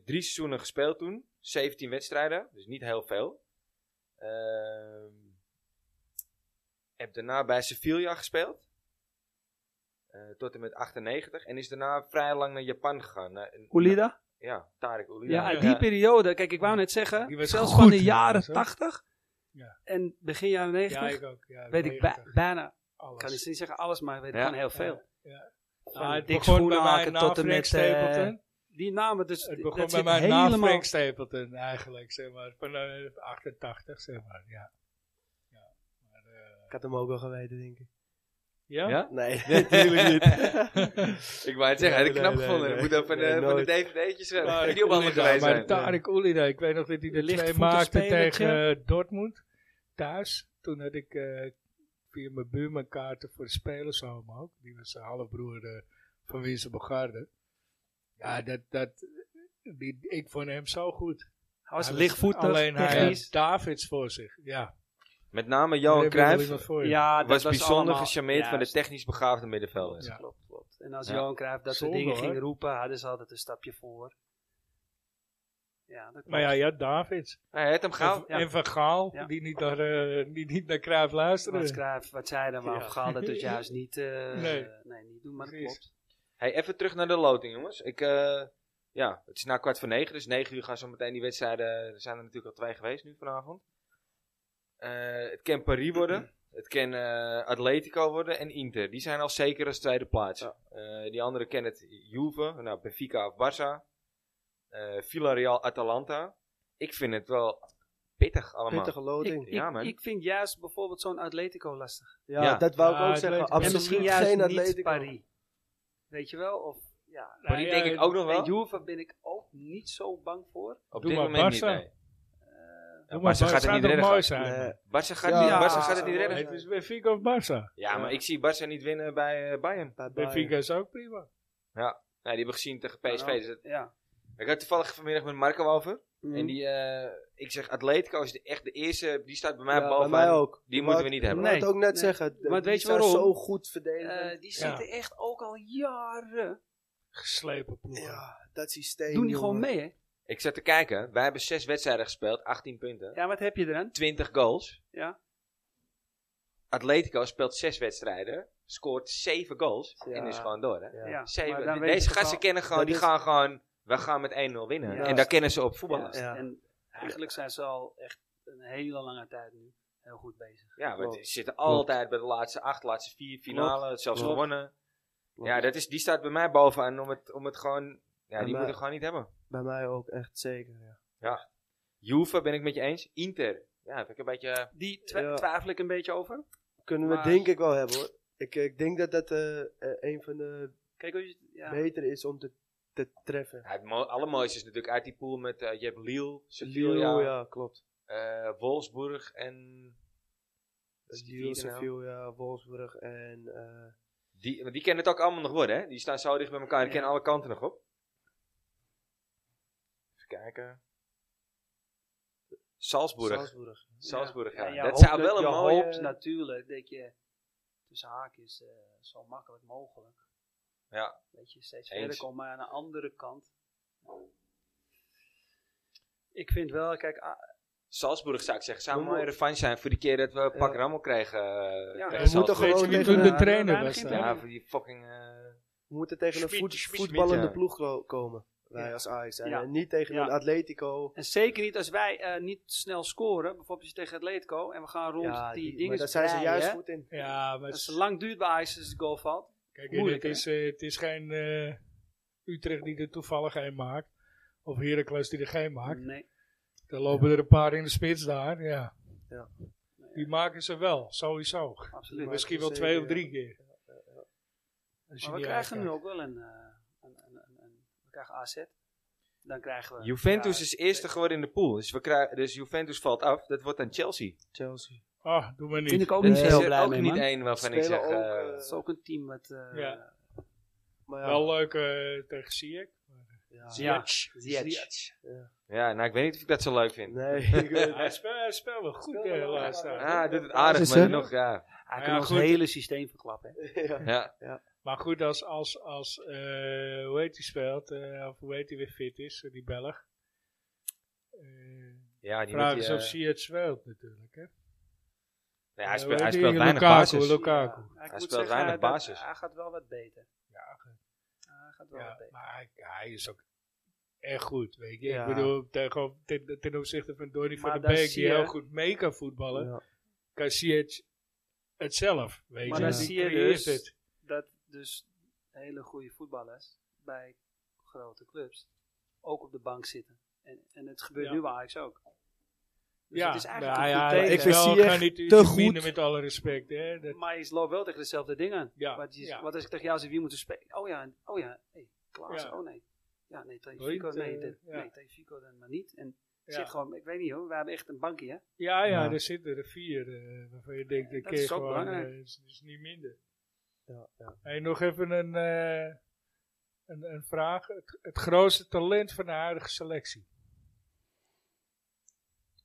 drie seizoenen gespeeld toen. 17 wedstrijden, dus niet heel veel. Ehm, heb daarna bij Sevilla gespeeld. Eh, tot en met 98. En is daarna vrij lang naar Japan gegaan. Naar- Oelida? ja, Tarek Oelida. Ja, die periode. Kijk, ik wou net zeggen, Die was zelfs goed, van de hè, jaren zo. 80 Ja. en begin jaren Ja, 90 ik ook. Ja, weet ik 90. bij- bijna, Alles. kan ik niet zeggen alles, maar weet ik Ja. gewoon heel veel. Ah, het Dick begon bij mij Schoenmaker na tot en Frank met, eh, Stapleton. Die namen, dus Het dat begon bij zit mij na helemaal... Frank Stapleton eigenlijk, zeg maar. Van eh, 88, zeg maar. Ja. Ja. Maar, eh, Ik had hem ook wel geweten, denk ik. ja? Ja? Nee, natuurlijk niet. Ik wou het zeggen, had ik Nee, knap nee, gevonden. nee, Ik moet even nee, eh, van de nooit. DVD'tjes eh, Tarek die op handen Oelida, geweest Maar zijn. Tarek eh, Oelida, ik weet nog dat hij de twee Lichtvoetig maakte spelertje. tegen eh, Dortmund thuis. Toen had ik eh, via mijn buurman kaarten voor de spelershome ook. Die was zijn halfbroer eh, van Winston Bogarde. Ja, dat, dat, die, ik vond hem zo goed. Hij was Hij lichtvoetig, Alleen hij technisch. had Davids voor zich. Ja, Met name Daar Johan heb je wel Cruijff iemand voor je. Ja, dat was bijzonder allemaal- gecharmeerd Ja, van de technisch begaafde middenvelders. Ja. Dus Klopt, klopt. En als Ja. Johan Cruijff dat soort Zonde, dingen ging hoor. roepen, hadden ze altijd een stapje voor. Ja, dat klopt. Maar ja, ja, Davids. Hij heeft hem gehaald. Ja. En Van Gaal, Ja. die, niet naar, eh die niet naar Cruijff luisterde. Wat, Cruijff, wat zij dan maar Ja. ja. dat dus juist niet, eh, Nee. eh, nee, niet doen, maar dat Precies. klopt. Hey, even terug naar de loting, jongens. Ik, eh, ja, het is na kwart voor negen, dus negen uur gaan zo meteen die wedstrijden. Er zijn er natuurlijk al twee geweest nu vanavond. Eh, het kan Paris worden, het kan eh, Atletico worden en Inter. Die zijn al zeker als tweede plaats. Eh, die anderen kennen het Juve, nou, Benfica of Barça. Eh, Villarreal, Atalanta. Ik vind het wel pittig allemaal. Pittige Ik, loting. ik, Ja, man. ik vind juist bijvoorbeeld zo'n Atletico lastig. Ja, Ja. dat wou ik Ja, ook Atletico. zeggen. En en Absoluut misschien juist geen niet Atletico. Paris. Weet je wel? Of, ja. Maar die denk ik ook nog En wel. Juve ben ik ook niet zo bang voor. Op Doe dit maar moment Barça. niet, nee. Ja, Doe maar, Barça gaat het niet redden. mooi gast. zijn. Nee. Barça gaat, Ja. niet, Barça gaat het niet Ja. redden. Het is Benfica of Barça. Ja, maar ik zie Barça niet winnen bij eh, Bayern. Bij Bayern. Benfica is ook prima. Nee, Nou, die hebben we gezien tegen Kan PSV. ook. dus dat- Ja. ik had toevallig vanmiddag met Marco over. En Mm. die, eh, ik zeg, Atletico is de, echt de eerste. Die staat bij mij Ja, bij bovenaan. mij ook. Die Maar moeten we niet hebben. Ik Nee. wou het ook net nee. zeggen. de- Maar die weet je zijn waarom? zo goed verdedigend. Eh, die zitten echt ook al jaren. Geslepen ploeg. ja, dat systeem. Doen die jongen. gewoon mee, hè? Ik zat te kijken. Wij hebben zes wedstrijden gespeeld. 18 punten. Ja, wat heb je eraan? 20 goals. Ja. Atletico speelt zes wedstrijden. Scoort zeven goals. Ja. En is gewoon door, hè? Ja. Ja, maar Zeven. dan De- weet Deze je toch gasten wel- kennen gewoon. dat Die is- gaan gewoon we gaan met 1-0 winnen. Ja. en daar kennen ze op voetballers. Ja, Ja. Ja. En eigenlijk zijn ze al echt een hele lange tijd nu heel goed bezig. want ze Klopt. zitten altijd bij de laatste acht, laatste vier finale, zelfs Klopt. gewonnen. Klopt. Ja, dat is, die staat bij mij bovenaan om het, om het gewoon... Ja, En die maar- moeten we gewoon niet hebben. Bij mij ook echt zeker, ja. Juve ben ik met je eens. Inter. Ja, heb ik een beetje... eh, Die twi- Ja. twijfel ik een beetje over. Kunnen we Maar- denk ik wel hebben hoor. Ik, ik denk dat dat eh, eh, een van de Kijk, hoe je- ja. betere is om te, te treffen. Ja, het mo- allermooiste is natuurlijk uit die pool met... eh, je hebt Lille, Sevilla, Lille, ja. klopt. eh, Wolfsburg en... Is die Lille, vierde nou? Sevilla, Wolfsburg en... eh, Die, maar die kennen het ook allemaal nog worden, hè? Die staan zo dicht bij elkaar. Die Ja. kennen alle kanten nog op. Even kijken. Salzburg. Salzburg, Salzburg. ja. En je dat hoopt zou wel je een mooie... hoopt natuurlijk dat je tussen haakjes eh, zo makkelijk mogelijk. Ja. Dat je steeds Eens. verder komt, maar aan de andere kant. Ik vind wel, kijk, ah, Salzburg zou ik zeggen. Zou een Noem op. mooie revanche zijn voor die keer dat we pak Ja. rammel kregen. eh, Ja, tegen we moeten Salzburg. gewoon wie tegen toen de een- trainer Ja, was. begint hè? Ja, voor die fucking... eh, We moeten tegen een Schmid, voet- Schmid, voetballende Schmid, ja. ploeg ko- komen. Wij Ja. als Ajax. zijn. Ja. En eh, niet tegen Ja. een Atletico. en zeker niet als wij eh, niet snel scoren, bijvoorbeeld tegen Atletico, en we gaan rond Ja, die, maar dingen. daar zijn ze breien, juist hè. goed in. Ja, dus- maar Als het het lang duurt bij Ajax als de goal valt. eh, Kijk, Moeilijk, het, is, eh, het is geen eh, Utrecht die er toevallig een maakt. Of Heracles die er geen maakt. Nee. Er lopen er een paar in de spits daar, ja. Ja. Die maken ze wel, sowieso. Absoluut. Maar- Misschien wel zeker, twee of ja. drie keer. Als je Maar we niet krijgen nu uitkijkt. ook wel een, Dus eh, een, een, een, een- We krijgen AZ. Dan krijgen we... Juventus ja, is eerste geworden in de pool. Dus, we krijgen, dus Juventus valt af. Dat wordt dan Chelsea. Chelsea. Ah, doe maar Vind niet. ik ook Dat niet is zo er heel blij ook mee, niet man. één waarvan ik Spelen zeg... ook, eh, eh, Het is ook een team wat... eh Ja. Maar ja, Wel leuk eh, tegen Ziyech. ja. Ja. Ziyech. ja, nou ik weet niet of ik dat zo leuk vind. Nee, ik weet Ja, Eh, hij speelt hij speelt wel goed eh, de laatste tijd. Ja, hij Ah, doet het Basis, aardig, maar hè? nog, ja. Hij Ja, kan ons goed. hele systeem verklappen. hè. het. Ja. ja. Maar goed, als, als, als eh, hoe heet hij speelt, eh, of hoe heet hij weer fit is, eh, die Belg. Eh Ja, die vraag moet is je, of eh, Ziyech speelt natuurlijk. Hè? nee, hij, Eh, speelt, hoe hij heet speelt die? weinig Lukaku, basis. Lukaku. Ja, ik Hij moet speelt zeggen, weinig dat- basis. Hij gaat wel wat beter. Ja, Hij gaat wel wat ja, beter. maar hij, hij is ook echt goed, weet je. Ja. Ik bedoel, tegen, ten, ten opzichte van Donny van Maar der daar Beek, zie die je- heel goed mee kan voetballen, Ja. kan Ziyech het zelf, weet Maar je. dan Die zie je creëert dus- het. Dat dus hele goede voetballers bij grote clubs ook op de bank zitten. En, en het gebeurt Ja. nu bij Ajax ook. Dus ja, het is eigenlijk nou een ja, goed teken. ik Ik vind wel, Ziyech ga niet te te goed. met alle respect, hè. Dat, Maar je loopt wel tegen dezelfde dingen aan. ja, wat, is, ja. wat als ik tegen jou zeg, wie moet er spelen? Oh ja, en- oh ja, hey, Klaas, Ja. oh nee. Ja, nee, tegen Weet, Fico, nee, eh, dat- ja. nee, tegen Fico dan maar niet. En het Ja. zit gewoon, ik weet niet hoor, we hebben echt een bankje, hè? Ja, ja, Ja. er zitten er vier eh, waarvan je denkt, dat Dat keer is ook gewoon, belangrijk. eh, is, is niet minder. Ja, ja. Hey, nog even een, eh, een, een vraag. Het, het grootste talent van de huidige selectie?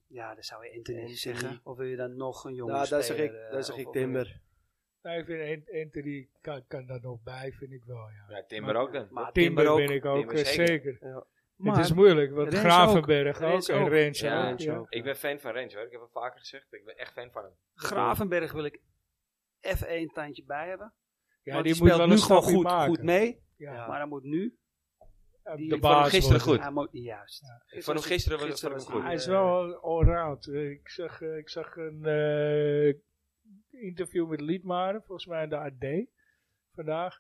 Ja, dan zou je Anthony Anthony. zeggen. Of wil je dan nog een jongen Nou, daar zeg speler? ik, eh, daar zeg of- ik of- Timber. Nou, ik vind Ent- Anthony kan, kan daar nog bij, vind ik wel, ja. Ja, Timber ook dan. Maar Timber, Timber ook. ben ik ook, Timber eh, zeker. zeker. Ja. het is Maar- moeilijk, want Rens Gravenberg ook. ook, Rens en ook. Rens Ja, ook. Rens Ja. ook. Ik ben fan van Range hoor. Ik heb het vaker gezegd. Ik ben echt fan van hem. Gravenberg wil ik even één tandje bij hebben. Ja, want die, die, moet speelt wel nu een gewoon stapje goed, maken. goed mee. Ja. Maar hij moet nu... die- de ik vond hem baas gisteren worden. goed. Hij moet, juist. Ik vond hem gisteren wel gisteren vond ik was hem Hij goed. is wel allround. Eh, Ik zag, eh, ik zag een eh, interview met Liedmanen, volgens mij in de AD vandaag.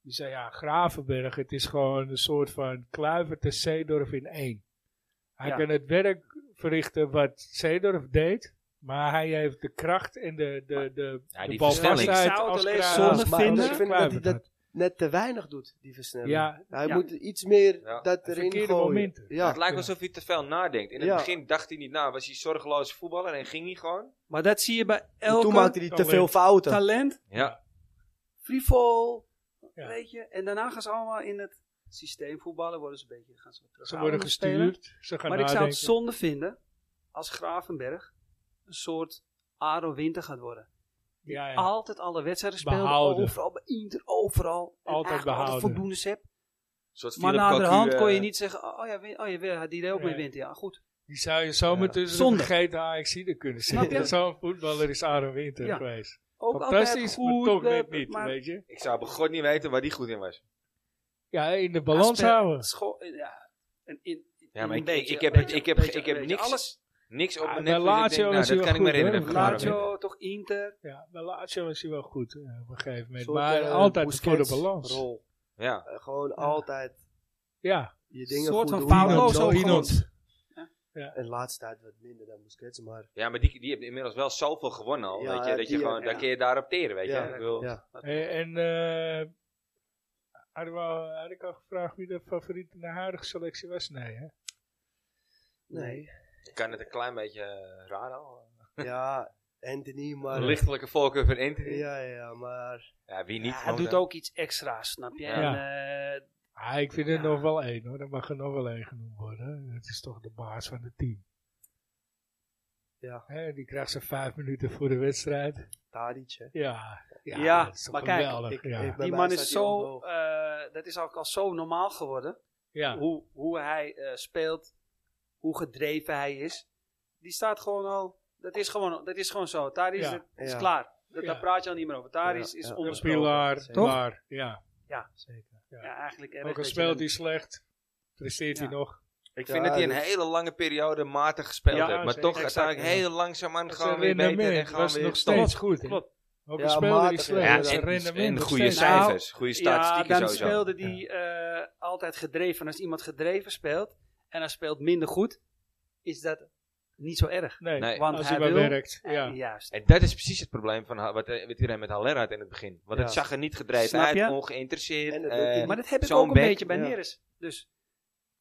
Die zei, ja, Gravenberg, het is gewoon een soort van Kluivert en Seedorf in één. Hij Ja. kan het werk verrichten wat Seedorf deed, maar hij heeft de kracht en de, de, de, Ja, de die balvastheid versnelling. Ik zou het als alleen Kra- zonde als- als vinden. Ik vind dat hij Kluivert dat had. Net te weinig doet, die versnelling. Ja, Hij Ja. moet iets meer Ja. dat erin verkeerde gooien. momenten. Ja. het lijkt ja. alsof hij te veel nadenkt. In het Ja. begin dacht hij niet na. Was hij zorgeloos voetballer en ging hij gewoon. Maar dat zie je bij En Toen maakte elke hij te talent. veel fouten. talent. Ja. frivol, Ja. weet je. En daarna gaan ze allemaal in het systeem voetballen, worden ze een beetje, gaan ze wat Ze worden terughoudender spelen. gestuurd, ze gaan Maar ik zou nadenken. het zonde vinden als Gravenberg een soort Aro Winter gaat worden. ja, ja. Altijd alle wedstrijden spelen, Behouden. overal bij Inter, overal. En Altijd eigenlijk behouden. Altijd voldoende hebt. Een soort Maar Philip naderhand Cocu, kon je eh, niet zeggen, oh ja, win- oh, ja win- die deed ook Nee. mee wint. Ja, goed. Die zou je zomaar Ja. tussen Zonde. de vergeten AXI'den kunnen Snap zitten. je? Zo'n voetballer is Aaron Winter Ja. geweest. Ook altijd Fantastisch, goed, maar toch eh, net niet, maar weet je. Ik zou begot niet weten waar die goed in was. Ja, in de balans Asper- houden. School, ja, en in, Ja, maar een ik- beetje, ik heb- een beetje, ik heb- een beetje, ik heb een beetje. niks- Alles, Niks op Ja, mijn bij Netflix. dat ik Lazio denk, nou, is hij dat wel kan ik me goed, herinneren. hoor. heb ik gedaan, Lazio- hoor. Lazio, toch Inter. Ja, bij Lazio is hij wel goed eh, op een gegeven moment. Soort, maar eh, altijd voor de Busquets balans. Rol. Ja, Eh, gewoon altijd Ja, je dingen Soort goed van doen. Paulo Hinot, zo Hinot. goed. En laatste tijd wat minder dan Busquets, maar ja maar die, die hebben inmiddels wel zoveel gewonnen al. Ja, weet je, dat je die, gewoon, ja. daar kun je daarop teren, weet je. Ja, ik bedoel, ja. Eh, en eh hadden we al- had ik al gevraagd wie de favoriet in de huidige selectie was? Nee, hè? nee. Ik kan het een klein beetje eh, raar al. ja, Anthony, maar... Lichtelijke voorkeur van Inter. Ja. Ja, ja, maar... wie niet. Ja, hij want, doet eh, ook iets extra's, snap je? Ja. En, eh, Ah, ik vind er nog wel één hoor. Er mag er nog wel één genoemd worden. Het is toch de baas van het team. Ja. Hè, die krijgt ze vijf minuten voor de wedstrijd. Tadic, hè. Ja, ja, Ja, dat is toch maar kijk, geweldig. ik- ja. ik- Bij die mij man staat is hij zo, omhoog. eh, dat is ook al zo normaal geworden. ja. Hoe, hoe hij eh, speelt, hoe gedreven hij is. Die staat gewoon al, dat is gewoon, dat is gewoon zo. Daar is Ja. het is Ja. klaar. Dat, Ja. Daar praat je al niet meer over. Daar Ja, is, is ja. Een onbesproken. pilaar, Zeker. pilaar, ja. Zeker. Ja, eigenlijk erg Ook al dat je speelt dan- hij slecht, presteert hij Ja. nog. Ik Ja, dus vind dat hij een dat- hele lange periode matig gespeeld Ja, heeft. Maar zeker. toch uiteindelijk Exact, ja. heel langzaam aan Het gewoon weer beter en gewoon was weer nog stoppen. steeds eh, goed. hè? Klopt. Ook Ja, al speelde hij matig, slecht. Ja, dat is zijn en, rendement en nog goede steeds- Nou, cijfers, goede statistieken ja, dan sowieso. speelde die eh, altijd gedreven. Als iemand gedreven speelt en hij speelt minder goed, is dat niet zo erg. Nee, Nee. Want als hij hij maar wil- werkt. Ja. Ja. Juist. En dat is precies het probleem van ha- wat, eh, wat iedereen met Haller had in het begin. Want het Ja. zag er niet gedreven Snap je? uit, ongeïnteresseerd. En dat eh, doet hij. Maar dat heb ik Zo'n ook een bek, beetje bij ja. Neres. Dus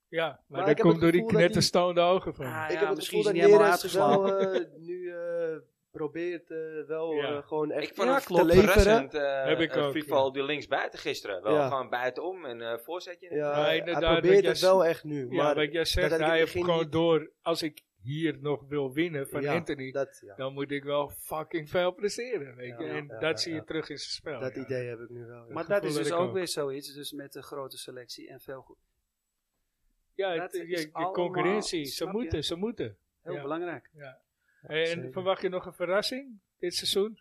ja, maar, Maar dat ik heb komt het door die gevoel dat hij- knetterstoonde ogen van. ah, hem. ja, ik heb het misschien gevoel is hij dat niet helemaal Neres wel uitgeslagen. eh, nu eh, probeert eh, wel Ja. eh, gewoon echt ik vond het te klopt leveren. verrassend. eh Heb ik eh, ook, Vival die links buiten gisteren. Wel Ja. gewoon buitenom en eh voorzetje. Ja, Maar hij inderdaad, probeert dat het jij- wel echt nu. Ja, maar wat jij zegt, had ik in het hij heeft begin gewoon niet. door. Als ik hier nog wil winnen van Ja, Anthony, dat, ja, dan moet ik wel fucking veel presteren. Weet je? Ja, en ja, dat ja, zie je ja. terug in zijn spel. dat ja. idee heb ik nu wel. ja. Maar dat is gevoel dus heb ik ook ook. weer zoiets. Dus met een grote selectie en veel goed. Ja, Dat het- je- is je allemaal- concurrentie, ze snap je? moeten, ze moeten. Heel Ja. belangrijk. En zeker. verwacht je nog een verrassing dit seizoen?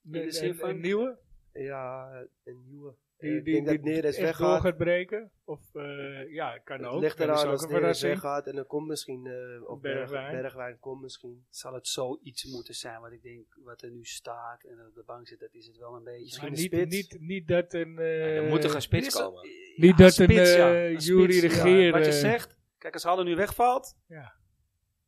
de Een- zin een- van- een nieuwe? ja, een nieuwe. Die, Eh, die, ik denk dat die Neres echt door weggaat. gaat breken? Of, eh, ja, kan Het ook. ligt Dat is eraan ook als een Neres verrassing. weggaat en dan komt misschien, eh of Bergwijn. Bergwijn, Bergwijn komt misschien. Zal het zoiets moeten zijn wat ik denk, wat er nu staat en op de bank zit, dat is het wel een beetje. Maar de niet, spits. niet, niet dat een... eh, Ja, er moet er geen spits Dit is een- komen. Niet Ja, dat een spits, ja. eh, Een jury spits, ja. regeert. Wat je eh, zegt, kijk, als Haller nu wegvalt, Ja.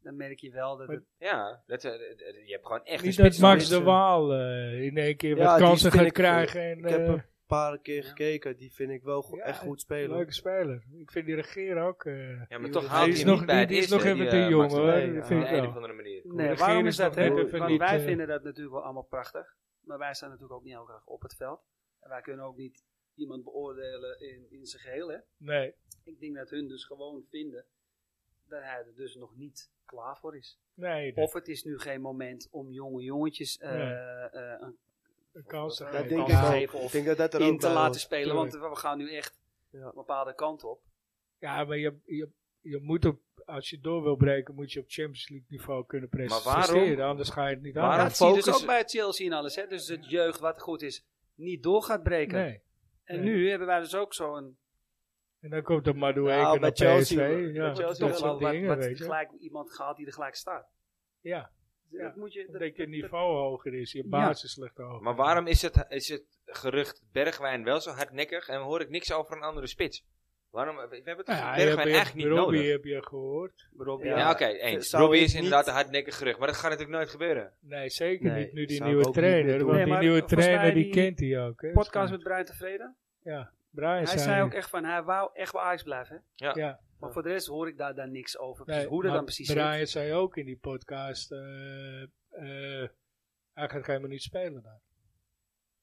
dan merk je wel dat Maar- het Ja, dat, eh, eh, je hebt gewoon echt een Niet dat spits nodig. Max de Waal eh, in één keer Ja, wat die kansen vind gaat ik, eh, krijgen. En, ik heb eh, hem een paar keer ja. gekeken, die vind ik wel go- Ja, echt goed een spelen. leuke speler. Ik vind die regeer ook... eh, Ja, maar Die toch is haalt hij nog- hem niet bij die het is eerste, nog die, even eh, te Max jong, de hoor. Waal. Leeuwen, Dat Op vind de ik een wel. of andere manier. Nee, regering waarom is is dat? nog hè? net even Want niet, wij eh, vinden dat natuurlijk wel allemaal prachtig. Maar wij staan natuurlijk ook niet heel graag op het veld. En wij kunnen ook niet iemand beoordelen in, in zijn geheel. Hè? Nee. Ik denk dat hun dus gewoon vinden dat hij er dus nog niet klaar voor is. Nee, dat Of het is nu geen moment om jonge jongetjes eh, Nee. eh, een dat kan ze. Ja, Dat ik denk kan ik het ook. geven of Ik denk dat dat er in ook te bij laten hoort. spelen. Want we gaan nu echt Ja. een bepaalde kant op. Ja, maar je, je, je moet op, als je door wil breken, moet je op Champions League niveau kunnen pres- Maar waarom- presteren. Anders ga je het niet waarom aan. dat zie je dus focus- ook bij Chelsea en alles. Hè? Dus het jeugd wat goed is, niet door gaat breken. Nee. En Nee. nu hebben wij dus ook zo'n En dan komt de Madueke Nou, bij naar Chelsea- PSV. bij Ja, Chelsea dat wel soort wel wat- dingen, wat weet je. gelijk iemand gehaald die er gelijk staat. Ja, Ja. Dat moet je, dat- omdat je dat- niveau hoger is. Je Ja. basis ligt hoger. Maar waarom is het, is het gerucht Bergwijn wel zo hardnekkig en hoor ik niks over een andere spits? Waarom, we hebben het Nou over ja, je Bergwijn hebt eigenlijk niet Robbie nodig. heb je gehoord. Robbie, Ja, Ja, oké, eens. zou Robbie ik is niet- inderdaad een hardnekkig gerucht, maar dat gaat natuurlijk nooit gebeuren. Nee, zeker Nee, niet nu die zou ik nieuwe ook niet meer trainer. doen. Want Nee, die maar nieuwe volgens mij trainer die die kent hij ook. Hè, podcast met Brian Tevreden. Ja, Brian Hij zei ook echt van, hij wou echt bij Ajax blijven. hè. Ja, Maar voor de rest hoor ik daar dan niks over. nee, precies hoe dat maar dan precies Brian zit. zei ook in die podcast, eh, eh, hij gaat geen minuut spelen daar.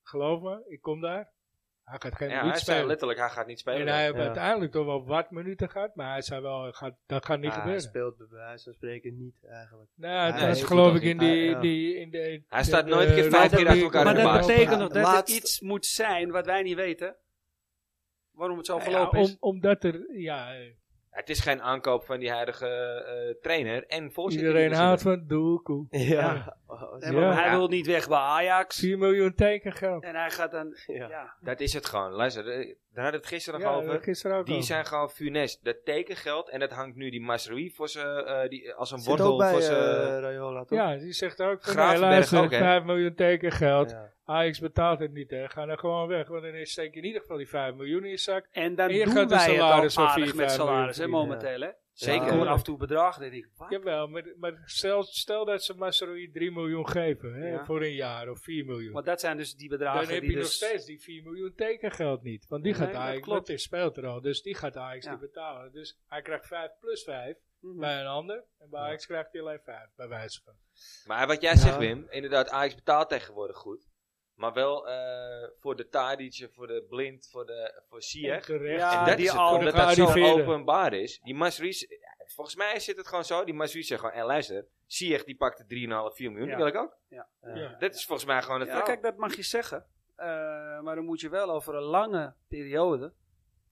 Geloof me, ik kom daar. Hij gaat geen Ja, hij minuut zei spelen. letterlijk, hij gaat niet spelen. En hij heeft Ja. uiteindelijk toch wel wat minuten gehad, maar hij zei wel, gaat, dat gaat niet Ah, hij gebeuren. speelt bij wijze van spreken niet eigenlijk. Nou, dat hij was doet geloof dat ik in niet. die, Ah, ja. die, in de, Hij de- staat de nooit een keer Rob vijf keer Beek- achter elkaar Maar in de dat baas. betekent nog dat er Laatst- iets moet zijn wat wij niet weten. Waarom het zo Ja, verlopen om, is. omdat er, ja, eh, Ja, het is geen aankoop van die huidige eh, trainer en voorzitter. Iedereen die we houdt zitten. van Doekoe. Ja. Nee, maar Ja. Hij wil niet weg bij Ajax. 4 miljoen tekengeld. En hij gaat dan... Ja. Ja, Dat is het gewoon. Luister, eh, daar hadden we het gisteren nog Ja, over. gisteren ook Die al. zijn gewoon funest. Dat tekengeld en dat hangt nu die Masrui voor ze, eh, die als een Zit ook wortel bij voor ze. eh, Raiola, toch? Ja, die zegt ook van Gravenberg nee, luister, ook, hè? 5 miljoen tekengeld. Ja. Ajax betaalt het niet, hè. Ga dan gewoon weg. Want dan steek je in ieder geval die 5 miljoen in je zak. en dan En je doen gaat een wij het salaris al van vier, aardig met vijf miljoen salaris, hè, verdienen, momenteel, hè. Zeker. Ik hoor af en toe bedrag, dan denk ik, wat? Jawel, maar, maar stel, stel dat ze Masrui 3 miljoen geven hè, Ja. voor een jaar of 4 miljoen. Want dat zijn dus die dan bedragen heb die je nog dus... steeds die 4 miljoen tekengeld niet. Want die Nee, gaat dat Ajax, klopt. want die speelt er al, dus die gaat Ajax Ja. niet betalen. Dus hij krijgt 5 plus 5 Mhm. bij een ander. En bij Ajax krijgt hij alleen 5, bij wijze van. Maar wat jij Ja. zegt, Wim, inderdaad, Ajax betaalt tegenwoordig goed. Maar wel eh, voor de Tadic, voor de Blind, voor, de, voor Ziyech. En terecht. Ja, En die dat is het al- gewoon, dat dat zo gearriveerden. openbaar is. Die Masri, volgens mij zit het gewoon zo. Die Masri zegt gewoon, en luister, Ziyech die pakte 3,5, 4 miljoen, Ja. die wil ik ook. Ja. Dat is volgens mij gewoon het Ja, verhaal. kijk, dat mag je zeggen. Eh, maar dan moet je wel over een lange periode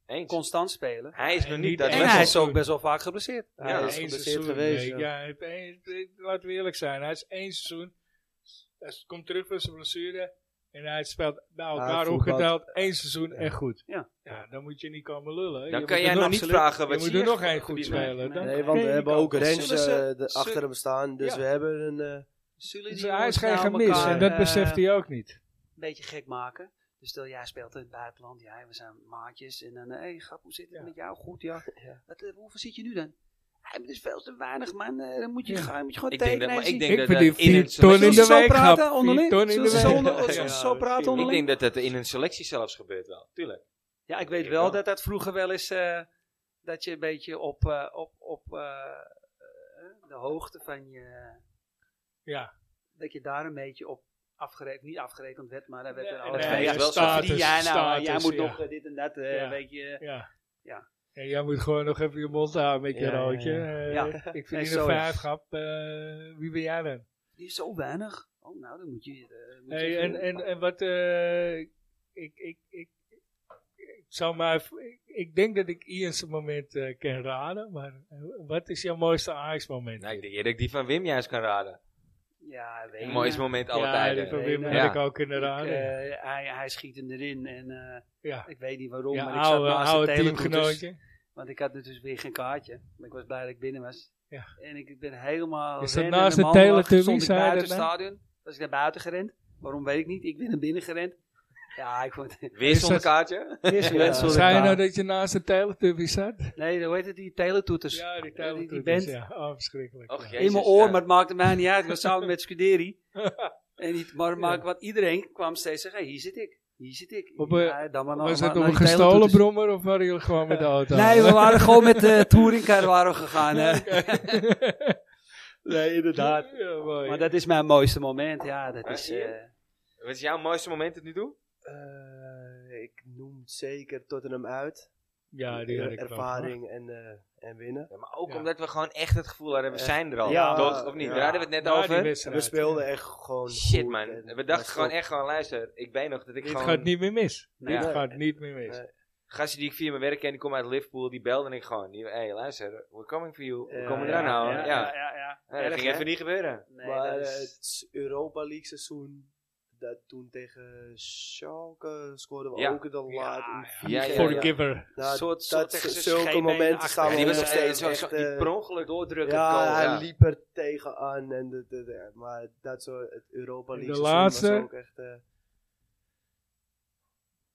Eens. constant spelen. Hij is En nog niet niet dat één. en level. hij wel is zo. ook best wel vaak geblesseerd. Ja, Ja, hij Eén is geblesseerd seizoen, geweest. nee. ja. Ja, hij heeft één- eh, laten we eerlijk zijn. Hij is één seizoen. Hij is- komt terug van zijn blessure. En hij speelt bij elkaar voetbalt. opgeteld één seizoen echt goed. Ja. ja, dan moet je niet komen lullen. Je Dan moet kan er jij nog niet absoluut- vragen Je wat moet er Ziyech nog één goed verdient. spelen. Dan Nee, want kan je we niet hebben komen. ook Rens Zullen ze- eh, de- zullen- achter hem staan. Dus Ja. we hebben een... eh, Zullen Dus die Hij is jongens geen nou gemis. elkaar, en dat eh, beseft hij ook niet. Een beetje gek maken. Dus stel, jij speelt in het buitenland. Ja, we zijn maatjes. En dan, hé, hey, grap, hoe zit het Ja. met jou? Goed, ja. Ja. Wat, eh, hoeveel zit je nu dan? Hij is veel te weinig, man. Eh, dan moet je, Ja. gaan, moet je gewoon Ik denk dat, tekenen. maar ik Ik denk dat dat verdien in een vier ton in selectie- de Zullen ze zo week praten gehad. onderling? Vier ton in Zullen de ze zo, week. onder, zullen ze Ja, zo praten misschien. onderling? Ik denk dat dat in een selectie zelfs gebeurt wel. Tuurlijk. Ja, ik weet Ik wel wel. dat dat vroeger wel eens eh, dat je een beetje op, eh, op, op eh, eh, de hoogte van je, Ja. dat je daar een beetje op afgerekend, niet afgerekend werd, maar daar werd Nee, er nee, altijd nee, van, ja, wat status, verdien jij nou, status, jij moet ja. nog eh, dit en dat, eh, Ja. weet je. Ja. Ja. En jij moet gewoon nog even je mond houden met je Ja, ja, roodje. ja. Eh, Ja. Ik Nee, vind hier zo een is- vijf grap. eh, wie ben jij dan? Die is zo weinig. Oh, nou, dan moet je... eh, moet je Hey, en, even- en, en wat eh, ik, ik, ik, ik, ik zou maar, v- ik, ik denk dat ik Ian's moment eh, kan raden, maar eh, wat is jouw mooiste Ajax moment? Nou, ik denk eerder dat ik die van Wim juist kan raden. ja, weet Het je. mooiste moment alle ja, die tijden. van Wim Nee, heb nee. ik ook kunnen Ik, raden. eh, hij, hij schiet hem erin en eh, ja, ik weet niet waarom, ja maar ik zat oude, naast de oude Teledoet, dus- teamgenootje. Want ik had er dus weer geen kaartje. Maar ik was blij dat ik binnen was. Ja. En ik ben helemaal... Is dat rennende naast de manwacht, Teletubbies, Stond ik zei je buiten het dat nou? stadion. Was ik naar buiten gerend. Waarom weet ik niet. Ik ben naar binnen gerend. Ja, ik vond het... Weer Is zonder dat- kaartje. Eerste Ja. mensen Zei je nou dat je naast de Teletubby zat? Nee, hoe heet het? Die teletoeters. Ja, die Teletubbies, Teletubby. band. Ja, oh, verschrikkelijk. Och, ja. jezus, In mijn oor, ja. maar het maakte mij niet uit. Ik was samen met Scuderi. En niet, maar, maar wat iedereen kwam steeds zeggen, hey, hier zit ik. Hier zit ik. Op een- Ja, dan maar nog- Was Oh, maar het op naar een die gestolen teletoeters. brommer of waren jullie gewoon met de auto? Nee, we waren gewoon met de touringcar waren we gegaan. hè. eh, Nee, inderdaad. ja, mooi. Maar dat is mijn mooiste moment. Ja, dat Ja, is... zie je? eh, Wat is jouw mooiste moment tot nu toe? eh, ik noem zeker Tottenham uit. Eh, ja, die had ik wel. Ervaring en, eh, en winnen. Ja, maar ook Ja. omdat we gewoon echt het gevoel hadden, we Echt. zijn er al. Ja. toch? Of niet? Ja. Daar hadden we het net Ja, die over. En wedstrijd, we speelden ja. echt gewoon Shit goed man, en- we maar dachten gewoon stop. echt gewoon, luister, ik weet nog dat ik Dit gewoon... gaat niet meer mis. Nou Dit ja. gaat niet meer mis. Nee. Gasten die ik via mijn werk ken, die komen uit Liverpool, die belden en ik gewoon. Hé, hey, luister, we're coming for you. We Ja, komen ja, eraan houden. Ja, Ja, ja, ja. ja. Ja, dat Erg, ging hè? even niet gebeuren. Nee, maar dat is- eh, het Europa League seizoen, dat toen tegen Schalke scoorden we Ja. ook de laat. Ja, in ja. vier Ja, keer. ja, Forgiver. Nou, soort, dat soort tegen zijn zulke scheen momenten achter- staan Ja, we die nog was eh, steeds zo, echt... zo, die eh, per ongeluk doordrukken. ja, goal, hij ja. liep er tegenaan. En de, de- de- maar dat zo, het Europa De League seizoen laatste? was ook echt... eh,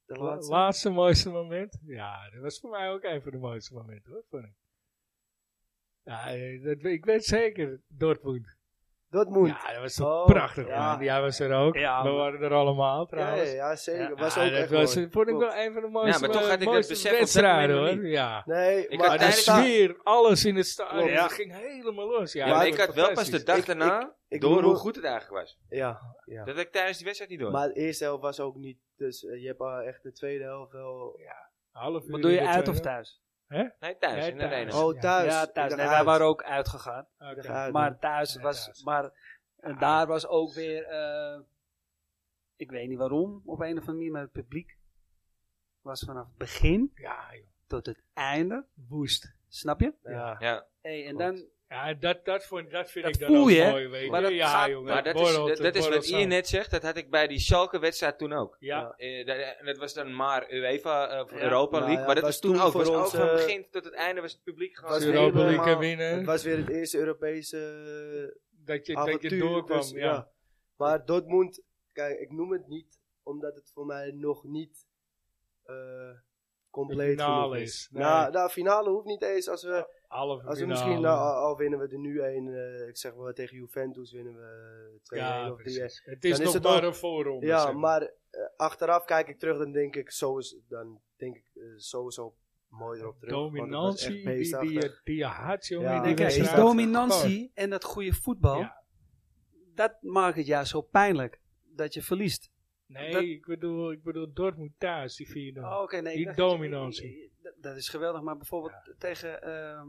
de Laatste. laatste. mooiste moment. Ja, dat was voor mij ook een van de mooiste momenten hoor, vond ik. Ja, eh, dat, we- ik weet zeker, Dortmund. Dortmund. Ja, dat was toch Oh, prachtig. ja. man. Jij was er ook. Ja, we maar- waren er allemaal Ja, trouwens. ja, ja, zeker. Ja. was Ja, ook dat echt was, mooi. vond ik wel Klopt. een van de mooiste, maar toch had ik het mooiste besef op dat wedstrijden moment nog hoor. Ja. Nee, Ik had maar Maar de tijdens- sta- sfeer, alles in het stadion, Klopt. dat ging helemaal los. Ja, Ja, maar dat ik was had wel pas de fantastisch. dag Ik- daarna, ik door bedoel- hoe goed het eigenlijk was. Ja, ja. Dat had ik tijdens die wedstrijd niet door. Maar de eerste helft was ook niet. Dus eh, je hebt eh, echt de tweede helft wel. Half uur Wat doe je in de uit tweede. of thuis? nee, thuis, Nee, in de arena. thuis. Oh, thuis. ja, Ik thuis. dacht Nee, wij uit. waren ook uitgegaan. Oké. Ik dacht uit, Maar thuis Ja, was... thuis. Maar Ah. en daar was ook weer... eh, ik weet niet waarom, op een of andere manier, maar het publiek was vanaf het begin Ja, joh. tot het einde woest. Snap je? Ja. Ja. Hey, en Klopt. Ah, dan, Ja, dat, dat, vond, dat vind Dat ik dan voel ook je, hè? mooi, weet je. Maar dat ja, gaat- jongen, Maar dat is, borrelt, dat, dat is wat borrelt Ian zo. net zegt. Dat had ik bij die Schalke-wedstrijd toen ook. Ja, Eh, dat- En dat was dan maar UEFA eh, of Ja. Europa Nou League. ja, maar dat was was toen toen ook. voor Was ons, ook van eh, begin tot het einde was het publiek gewoon... als was heel- Europa helemaal- League Het winnen, was weer het eerste Europese dat je, dat avontuur, je doorkwam. dus, ja. Maar Dortmund, kijk, ik noem het niet omdat het voor mij nog niet eh, compleet De finale genoeg is. is. Nee. Nou, nou, finale hoeft niet eens. Als we, Halve als we finale. misschien, nou, al, al winnen we er nu één, eh, ik zeg maar tegen Juventus winnen we 2-1 ja, of 3-1. precies. Het is Dan is nog het maar ook- een voorronde. Ja, zeg maar eh, achteraf kijk ik terug, dan denk ik, zo is, dan denk ik eh, sowieso mooi erop terug. want het was echt Dominantie die, die, beestachtig. die, die je had, jongen. Ja, in die Nee, kijk, nee, wedstrijd. dat- dominantie en dat goede voetbal, Ja. dat maakt het juist zo pijnlijk. Dat je verliest. Nee, dat- ik, bedoel, ik bedoel Dortmund thuis, die vierde. Oh, oké, nee, ik Die dacht dat je- dominantie. dat- Dat is geweldig, maar bijvoorbeeld tegen ehm,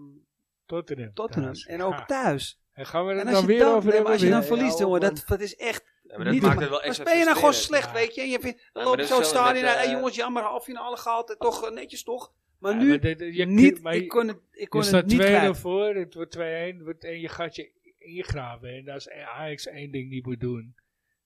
Tottenham. Tottenham thuis. en ook Ja. thuis. En gaan we En het als dan je weer dan, over nee, maar hebben? als je dan weer. verliest, Ja, jongen, man. dat, dat is echt Ja, maar dat niet maakt normaal. het wel Dan extra speel je nou gewoon frustrerend. slecht, weet je. En je vindt, dan maar loop dat je is zo het hetzelfde stadion met, uit. Hey, eh, jongens, jammer, halve finale gehaald. eh, Toch eh, netjes, toch? Maar Oh. Ja, nu maar dit- je niet. kunt- maar ik je- kon het, ik kon je het staat niet 2 kwijt. voor, het wordt 2-1 wordt- en je gaat je ingraven. En als Ajax één ding niet moet doen,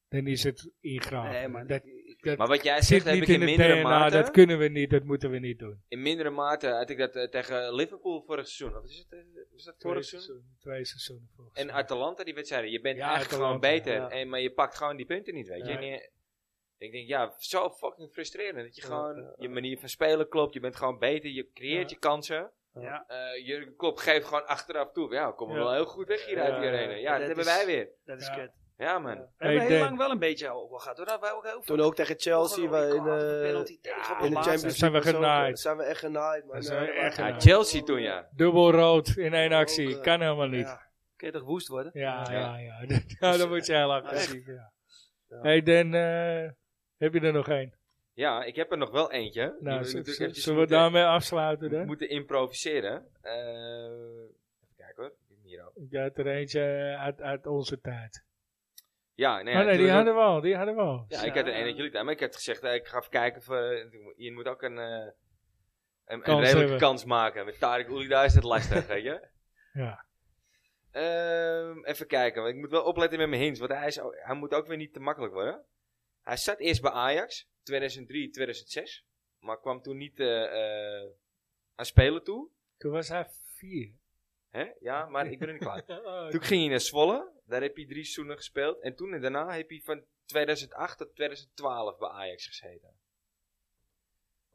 dan is het ingraven. Nee, man. dat ik- dat Maar wat jij zit zegt, heb niet ik in in het mindere DNA, mate... dat kunnen we niet, dat moeten we niet doen. In mindere mate had ik dat eh, tegen Liverpool vorig seizoen. Of is het, eh, was dat Twee vorig seizoen? seizoenen- Twee seizoenen volgens En mij. Atalanta, die wedstrijden. Je bent Ja, eigenlijk Atalanta, gewoon beter. ja. En, maar je pakt gewoon die punten niet, weet je. Ja. En je- ik denk, ja, zo fucking frustrerend. Dat je Ja, gewoon, ja, ja. je manier van spelen klopt. Je bent gewoon beter. Je creëert Ja. je kansen. Ja. Eh, je klop geeft gewoon achteraf toe. Ja, we komen Ja. wel heel goed weg hier uit Ja, die ja, arena. ja. Ja, dat Dat hebben is- wij weer. Dat is Ja. kut. Ja, man. We hebben Ik heel denk- lang wel een beetje ook wel gehad. Hoor. Dat wij ook heel veel Toen ook tegen Chelsea, waar in, eh, in de Champions League Zijn we was ook, eh, genaaid. Zijn we echt genaaid, man. Dan zijn we Ja, echt maar- Ja, genaaid. Chelsea toen, ja. Dubbel rood in één Ook, actie, eh, kan helemaal niet. Ja. Kun je toch woest worden? Ja, ja, Ja. ja. ja. dan word je heel agressief. Ja. Ja. Hey, Dan, eh, heb je er nog één? Ja, ik heb er nog wel eentje. Die Nou, we z- natuurlijk z- eventjes zullen we moeten- daarmee afsluiten dan? moeten improviseren. Eh, even kijken hoor. Ik heb hem hier al. Ik had er eentje eh, uit, uit onze tijd. Ja, nee, maar Oh, nee, die natuurlijk- hadden we al, die hadden we al. Ja, ik had er Ja. een dat jullie daar, maar ik had gezegd, eh, ik ga even kijken of eh, je moet ook een, eh, een- een, Kans redelijke hebben. kans maken. Met Tarek Oeli, daar is het lastig, weet je. Ja. Ehm, even kijken, want ik moet wel opletten met mijn hints, want hij, is, ook- hij moet ook weer niet te makkelijk worden. Hij zat eerst bij Ajax, 2003, 2006, maar kwam toen niet eh, eh, aan spelen toe. Toen was hij vier. Hè? Ja, maar ik ben er niet klaar. Oh, Toen ging hij naar Zwolle. Daar heb hij drie seizoenen gespeeld. En toen en daarna heb hij van 2008 tot 2012 bij Ajax gezeten.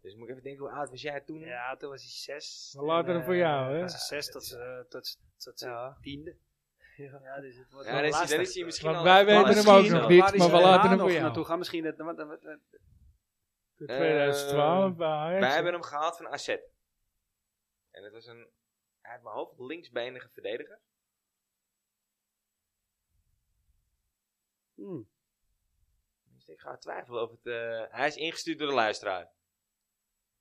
Dus moet ik even denken, hoe oud was jij toen? Ja, toen was hij zes. Maar later En, dan voor eh, jou, hè? Toen was hij zes tot, ze tot, ze- tot ze tiende. Ja, dus het wordt Ja, wel dan is, hij- lastig. dan is hij misschien Want al... wij wel weten eens hem ook gezien nog al. niet, waar is maar we hij laten daarna hem voor nog jou. naartoe gaan. Misschien dat, wat- wat- wat- 2012 bij Ajax. Eh, Wij hebben hem gehaald van AZ. En het was een, uit mijn hoofd, linksbenige verdediger. Hmm. Dus ik ga twijfelen of het... eh, hij is ingestuurd door de luisteraar.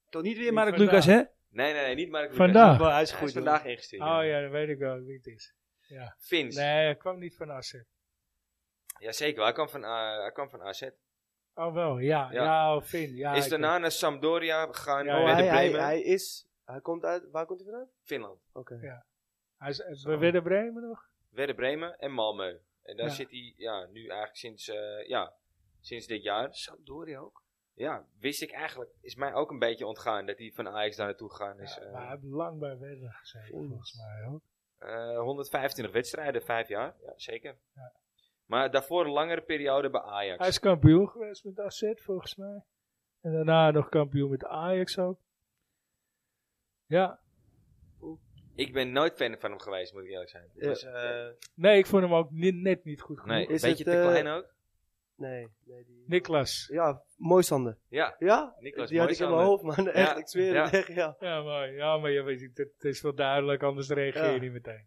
Toch niet weer Niet Mark vandaag. Lucas, hè? Nee, nee, nee, niet Mark Lucas. Vandaag? Wel, hij is Hij goed. is hoor. vandaag ingestuurd. Oh ja, dan weet ik wel wie het is. Fins. Nee, hij kwam niet van Assen. Jazeker, hij kwam van, eh, hij kwam van AZ. Oh wel, ja. Ja, Ja. oh, Finn. Ja, is ik- daarna naar Sampdoria gegaan Ja, met ja. de hij, hij, Bremen. hij is, hij komt uit, waar komt hij vandaan? Finland. Oké. Ja. Hij is, eh, we werden Bremen nog? Werder Bremen en Malmö. En daar Ja. zit hij ja, nu eigenlijk sinds, eh, ja, sinds dit jaar. Sampdoria ook. Ja, wist ik eigenlijk, is mij ook een beetje ontgaan dat hij van Ajax daar naartoe gegaan is. Ja, eh. maar hij heeft lang bij Werder gezeten, Oeh. volgens mij ook. Eh, 125 wedstrijden, vijf jaar. Ja, zeker. Maar daarvoor een langere periode bij Ajax. Hij is kampioen geweest met AZ, volgens mij. En daarna nog kampioen met Ajax ook. Ja. Ik ben nooit fan van hem geweest, moet ik eerlijk zijn. Ja. Dus, eh, Nee, ik vond hem ook ni- net niet goed genoeg. nee, een Is beetje het, te eh, klein ook. Nee. nee die, Niklas. Ja, mooi Sander. Ja, Ja? Niklas die had ik in mijn Moisander. hoofd, man. Echt, ik zweer ja. het echt, ja. Ja, maar, ja, maar je weet, het, het is wel duidelijk, anders reageer je Ja. niet meteen.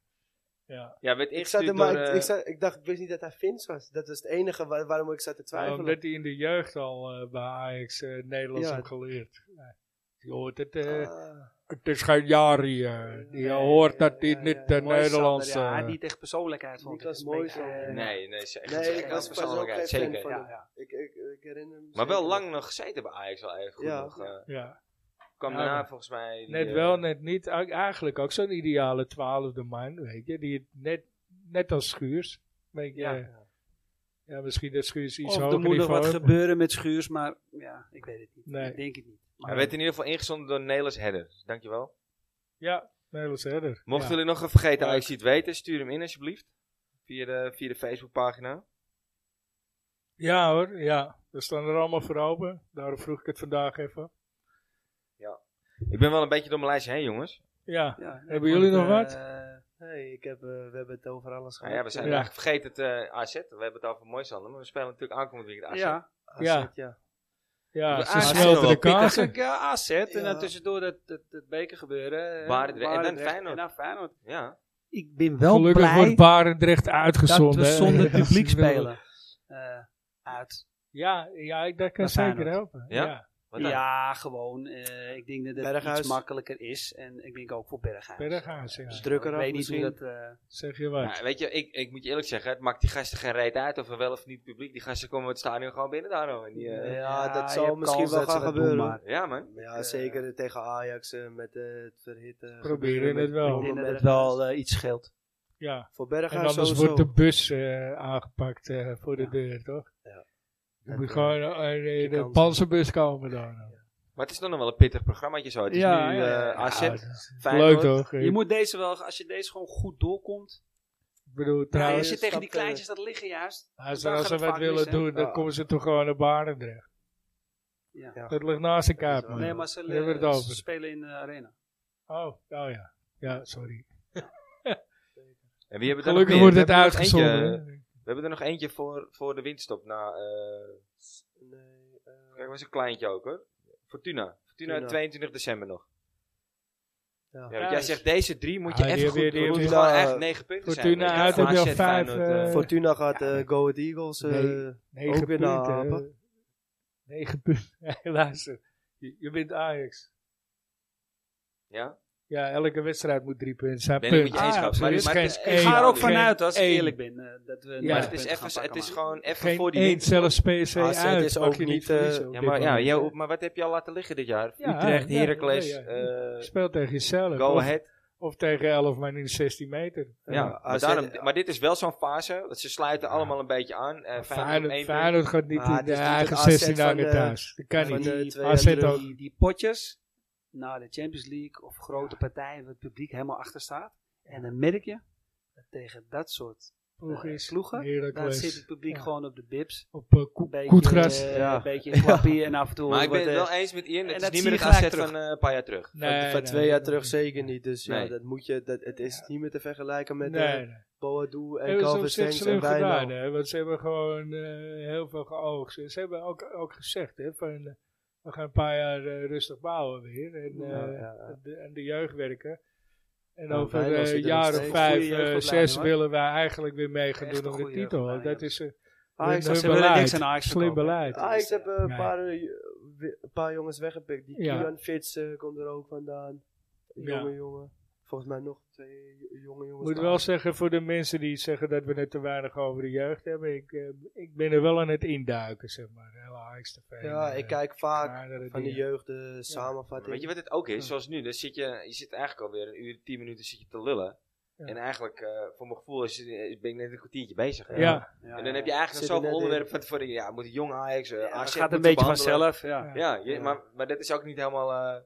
Ja. ja, werd Ik, zat er ingestuurd maar, door, ik, eh, ik, zat- ik dacht, ik wist niet dat hij Fins was. Dat was het enige waar- waarom ik zat te twijfelen. Omdat hij in de jeugd al eh, bij Ajax eh, Nederlands Ja. heeft geleerd. Ja. Je hoort het, eh, Ah. het is geen Jari. eh. je hoort dat hij ja, ja, niet de Mooi, Nederlands... Sander, Ja, hij eh, had niet echt persoonlijkheid vond ik. Niklas Het is een beetje, Mooijzander. eh, Nee, nee, ze- echt Nee, geen ik was pas ook persoonlijkheid, geen fan zeker. van Ja, hem. ja. Ik, ik, ik herinner me Maar wel zeker lang nog gezeten bij Ajax wel even goed Ja. nog. eh. ja. Kwam Ja, daarna maar volgens mij... die, Net eh, wel, net niet. Ei- Eigenlijk ook zo'n ideale twaalfde man, weet je. Die het net, net als Schuurs. Weet je, Ja. ja. misschien dat Schuurs iets Of hoger er moet nog niveau wat heeft, maar- gebeuren met Schuurs, maar ja, ik weet het niet. Nee. Ik denk het niet. Hij werd in ieder geval ingezonden door Nelis Hedder. Dus Dankjewel. Ja, Nederlands herder. Mochten ja. jullie nog een vergeten Leuk. Ajax het weten, stuur hem in alsjeblieft. Via de, via de Facebookpagina. Ja hoor, ja. We staan er allemaal voor open. Daarom vroeg ik het vandaag even. Ik ben wel een beetje door mijn lijstje heen, jongens. Ja, Ja, hebben jullie nog eh, wat? Hey, ik heb, eh, we hebben het over alles Nou gehad. ja, we zijn Ja. eigenlijk vergeten het eh, AZ. We hebben het over Moisander, maar we spelen natuurlijk aankomend weekend AZ. ja, AZ, ja. ja. ja, We- ze Ah, ze zijn smelten wel de pittig, Pittig, kaarsen. ik, eh, ja, AZ en Ja. dan eh, nou, tussendoor dat, dat, dat beker gebeuren. eh, Barendrecht en dan Barendrecht Feyenoord. En dan Feyenoord. Ja. Ik ben wel Gelukkig blij wordt Barendrecht dat uitgezonden. we hè. zonder publiek Ze willen- spelen. Eh, uit. Ja, ja ik, dat kan Maar zeker Feyenoord. helpen. Ja? ja. Wat dan? Ja, gewoon. eh, ik denk dat het Berghuis. iets makkelijker is. En ik denk ook voor Berghuis. Berghuis, ja. Dus Drukker ik af weet niet hoe dat... misschien. eh, Zeg je wat? Ja, weet je, ik, ik moet je eerlijk zeggen, het maakt die gasten geen reet uit of er wel of niet publiek. Die gasten komen het stadion gewoon binnen daarom. En die, eh, Ja, dat je zal hebt misschien kans wel dat ze gaan dat doen, gebeuren. maar ja, man. Ja, zeker tegen Ajax eh, met eh, het verhitten. Proberen het wel. Ik Met- denk dat het Berghuis. wel eh, iets scheelt. ja. Voor En Berghuis anders sowieso. wordt de bus eh, aangepakt eh, voor de Ja. deur, toch? Ja. Je Dat, moet eh, gewoon eh, je in de kans. panzerbus komen dan. Maar het is dan nog wel een pittig programmaatje zo. Het is Ja, nu ja, ja. eh, AZ, Ja, dat is Leuk Feyenoord. toch? Je moet deze wel, als je deze gewoon goed doorkomt. Ik bedoel, Ja, trouwens, als je tegen die stapt, eh, kleintjes dat liggen juist. als, daar als gaat ze het wat vaak willen mis, hè? doen, dan Ja. komen ze toch gewoon naar Barendrecht. Ja. Ja. Dat ligt naast elkaar. Dat is wel- man. Nee, maar ze, Daar hebben we eh, het ze over. spelen in de arena. Oh, oh ja. Ja, sorry. En wie hebben we er nog Gelukkig meer? wordt We hebben het er nog eentje- uitgezonden. eh, hè. We hebben er nog eentje voor, voor de winststop na... eh, Nee, eh, Kijk, was een kleintje ook hoor. Fortuna. Fortuna, Fortuna. 22 december nog. Ja. Ja, want jij is- zegt deze drie moet je Ah, die echt hebben- goed die eh, doen. Het moet hebben- gewoon Fortuna- echt 9 punten Fortuna zijn. uit, heb heb je al vijf, eh, Fortuna gaat Ja. eh, Go Ahead Eagles. eh, Nee. Negen Ook weer naar punten. Apen. hè. Negen punten. Hey, luister. Je, je bent Ajax. ja? Ja, elke wedstrijd moet drie punten zijn. Nee, punt. dat moet je eens Ah, gaan. er Maar- is maar geen het- ik Ik één- Eén. ga er ook Ja. vanuit, als ik Eén. eerlijk ben, eh, dat we Ja. Maar negen het is, punten gaan even, het pakken, is maar- gewoon even Geen voor die één, winst. zelfs AZ PSV uit. Ah, is mag ook je niet, eh, verliezen op Ja, dit maar, ja, moment, jou- hè. maar wat heb je al laten liggen dit jaar? Ja, Utrecht, ja, Heracles, ja, ja. eh, Speelt tegen jezelf. Go of, Ahead. of tegen 11 man in de 16 meter. Ja, Ja, maar, AZ daarom, maar dit is wel zo'n fase. want Ze sluiten allemaal een beetje aan. Eh Feyenoord, Feyenoord, één punt. Feyenoord gaat niet Ah, in het de is niet eigen het AZ 16 van dagen de- thuis. Dat kan van niet. de- die, twee AZ jaar ook. die, die potjes naar de Champions League of grote partijen waar het publiek helemaal achter staat. En dan merk je dat tegen dat soort Ploeg eh, is ploegen, daar Heracles. zit het publiek Ja. gewoon op de bips. Op eh, Een ko- beetje, koetgras. eh, Ja. Een beetje in papier en af en toe. Maar ik ben wordt, het eh, wel eens met Ian. en Het is dat niet zie meer je het gelijk AZ terug. van eh, een paar jaar terug. van, Nee, van nee, twee nee, jaar nee. terug zeker niet. Dus Nee. ja, dat moet je, dat, het is niet meer te vergelijken met Nee, eh nee. Boadu en hebben ze op Calvin zich Stengs slim en gedaan, Wijnald. hè? want ze hebben gewoon eh, heel veel geoogst. En Ze hebben ook, ook gezegd, hè, van, eh, we gaan een paar jaar eh, rustig bouwen weer. En, eh, Ja, ja, ja. en de, en de jeugd werken. En Nou, over Wijnald eh, zit een er jaar nog of steeds. vijf, Goeie eh, jeugdopleiding, zes hoor. willen wij eigenlijk weer mee gaan Echt doen een om de goeie titel. jeugdopleiding, Dat is eh, Ajax hun- was- ze hun willen niks beleid. aan Ajax Slim verkopen. beleid. Ajax heb eh, een Ja. paar, eh, we- een paar jongens weggepikt. Die Ja. Kian Fitz eh, komt er ook vandaan. Ja. Jonge jongen. Volgens mij nog twee jo- jonge Ik jongens. moet wel zeggen, voor de mensen die zeggen dat we net te weinig over de jeugd hebben, ik, eh, ik ben er wel aan het induiken, zeg maar. Hele eh, Ajax te veel. Ja, ik kijk vaak van de jeugd. jeugd de samenvatting. Weet je wat het ook is? Ja. Zoals nu, dan zit je, je zit eigenlijk alweer een uur, tien minuten zit je te lullen. Ja. En eigenlijk, eh, voor mijn gevoel, is, is- ben ik net een kwartiertje bezig. hè. Ja, Ja, En dan heb je ja. eigenlijk Zit nog er zoveel net in. onderwerpen van tevoren. Ja, moet de jong Ajax, eh AZ Ja, het gaat een moeten beetje behandelen. vanzelf. Ja. Ja, je- Ja. Maar, maar dat is ook niet helemaal eh,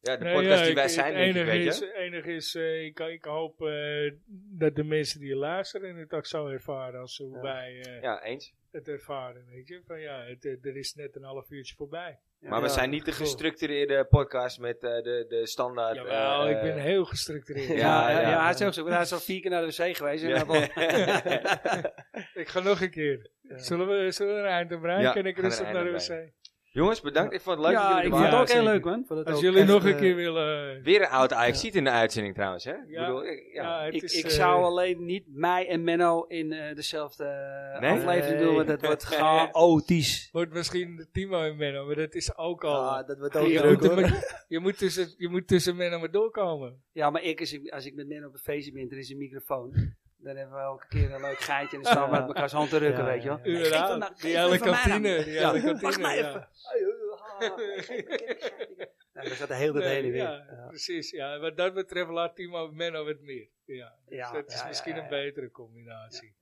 ja, de Nee, podcast ja, die wij ik- zijn, het denk ik, enige weet is, je. Het enige is, eh, ik, ik hoop eh, dat de mensen die luisteren het ook zo ervaren als hoe Ja. wij eh, Ja, eens. het ervaren, weet je. Van ja, het, eh, er is net een half uurtje voorbij. Maar we Ja, zijn niet de gevoel. gestructureerde podcast met eh, de, de standaard... Jawel, eh, ik ben heel gestructureerd. Ja, Ja, ja, ja. ja, hij is ook zo. Hij is al vier keer naar de wc geweest. En Ja. hij heeft al- Ik ga nog een keer. Zullen, we, zullen we een eind aan breien? Ja, Kan ik gaan er rustig een naar de eind aan wc? Jongens, bedankt. Ik vond het leuk Ja, dat ik jullie vond er het waren. ook heel zeker. leuk, man. Vond het Als ook jullie echt, nog een eh, keer willen... Weer een oud ajax ziet in de uitzending trouwens, hè? Ik bedoel, ik- ja. ja, het Ik, is, ik eh, zou alleen niet mij en Menno in eh, dezelfde eh, Nee? aflevering Nee. doen, want dat wordt chaotisch. Wordt misschien Timo en Menno, maar dat is ook al... Ah. Ja, dat wordt ook je, druk moet hoor. er- je, moet tussen, je moet tussen Menno maar doorkomen. Ja, maar ik, als ik, als ik met Menno op een feestje ben, er is een microfoon. Dan hebben we elke keer een leuk geitje en dan staan we Ja. met elkaars hand te rukken, Ja, weet je wel. ja, ja. Nee, geef hem nou- Inderdaad, geef die hem hele van mij dan. kantine. Die hele Wacht kantine, maar ja. even. Ai, oei, oei, ha, ha, ha. Nee, geef- geef- geef- Ja, dat gaat de hele tijd Nee, heen en weer. ja, Ja. Precies, ja. Wat dat betreft laat Timo Menno het meer. Ja, dus Ja, dat is ja, misschien ja, een ja. betere combinatie.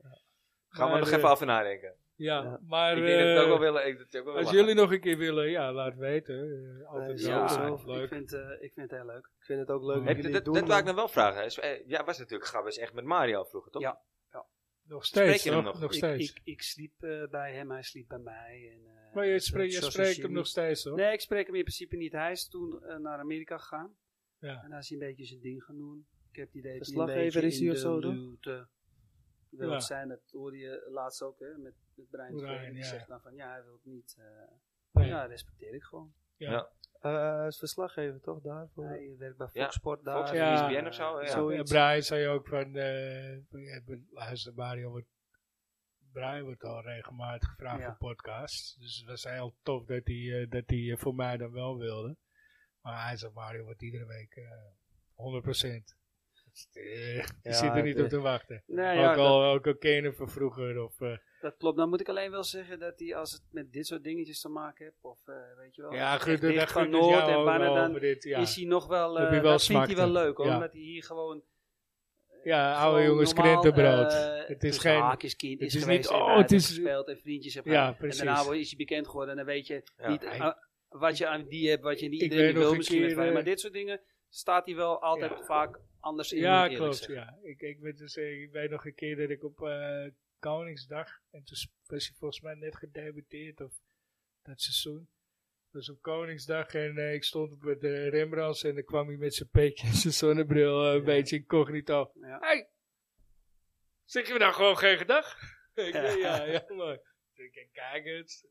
Gaan we Maar, nog eh, even over nadenken. Ja, Nou, Ja. maar ik denk dat ik eh, ook wel willen. Ik, dat ik ook wel wil als lachen. jullie nog een keer willen, ja, laat weten. Eh, altijd Ja, ja, sowieso. leuk. Ik, vind, eh, ik vind het heel leuk. Ik vind het ook leuk Heb dat Heb jullie je- het dat, doen. dat wou ik nou wel vragen. Is- eh, Ja, was natuurlijk Gabbers echt met Mario vroeger, toch? Ja. Nog steeds, Spreek je hem toch? nog? nog? Ik, steeds. ik, ik sliep eh, bij hem, hij sliep bij mij. En, eh, maar je, dat spreekt- je soort spreekt hem sashimi. nog steeds, hoor. Nee, ik spreek hem in principe niet. Hij is toen eh, naar Amerika gegaan. Ja. En daar is hij een beetje zijn ding gaan doen. Ik heb het idee dat hij een Verslaggever beetje is hij in of de zo, toch? luwte wil Ja. zijn. Dat hoorde je laatst ook hè, met, met Brian. Brian, Tevreden. Die ja. zegt dan van ja, hij wil het niet. eh, Nee. Ja, respecteer ik gewoon. Eh, hij is verslaggever toch daarvoor? Hij werkt bij Ja, Fox Sport daar. Fox, E Ja. en, ESPN eh, of zo, ja. zo- Ja, Brian zei ook van, eh, ja, be- luister, Mario wordt, Brian wordt al regelmatig gevraagd Ja. voor podcasts. Dus het was heel tof dat hij, eh, dat hij eh, voor mij dan wel wilde. Maar hij zei, Mario wordt iedere week eh 100%. Dus, eh, je Ja, zit er het niet is- op te wachten. Nee, ja, ook, dat, al, ook al ken je hem van vroeger. Of, eh, dat klopt. Dan moet ik alleen wel zeggen dat hij als het met dit soort dingetjes te maken heeft. Of eh, weet je wel. ja, echt goed, dat dicht dat van gun ik Noord jou en ook bijna wel dan voor dit. Ja, is hij nog wel, Dat eh hij wel dat vindt hij smaakte. wel leuk hoor, Ja. omdat hij hier gewoon ja oude gewoon jongens normaal, krentenbrood. eh, het is tussen geen... haakjes kind het is is, niet, geweest en oh, daar het heeft is- gespeeld en vriendjes heeft Ja, gehad. precies. En daarna is hij bekend geworden en dan weet je Ja. niet Hij- eh, wat je aan die hebt, wat je niet Ik iedereen weet nog wil een misschien. keer, met hem. eh, maar dit soort dingen staat hij wel altijd Ja. vaak anders in. moet Ja, ik eerlijk klopt. zeggen. Ja. Ik, ik, weet dus, eh, ik weet nog een keer dat ik op eh, Koningsdag, en toen was hij volgens mij net gedebuteerd of dat seizoen. Dus op Koningsdag en eh, ik stond op de Rembrandts en dan kwam hij met zijn petje en zijn zonnebril eh, een beetje incognito. Ja. Hey, zeg je me nou gewoon geen gedag? ik, ja, ja, ja, mooi. Dus ik kijk eens.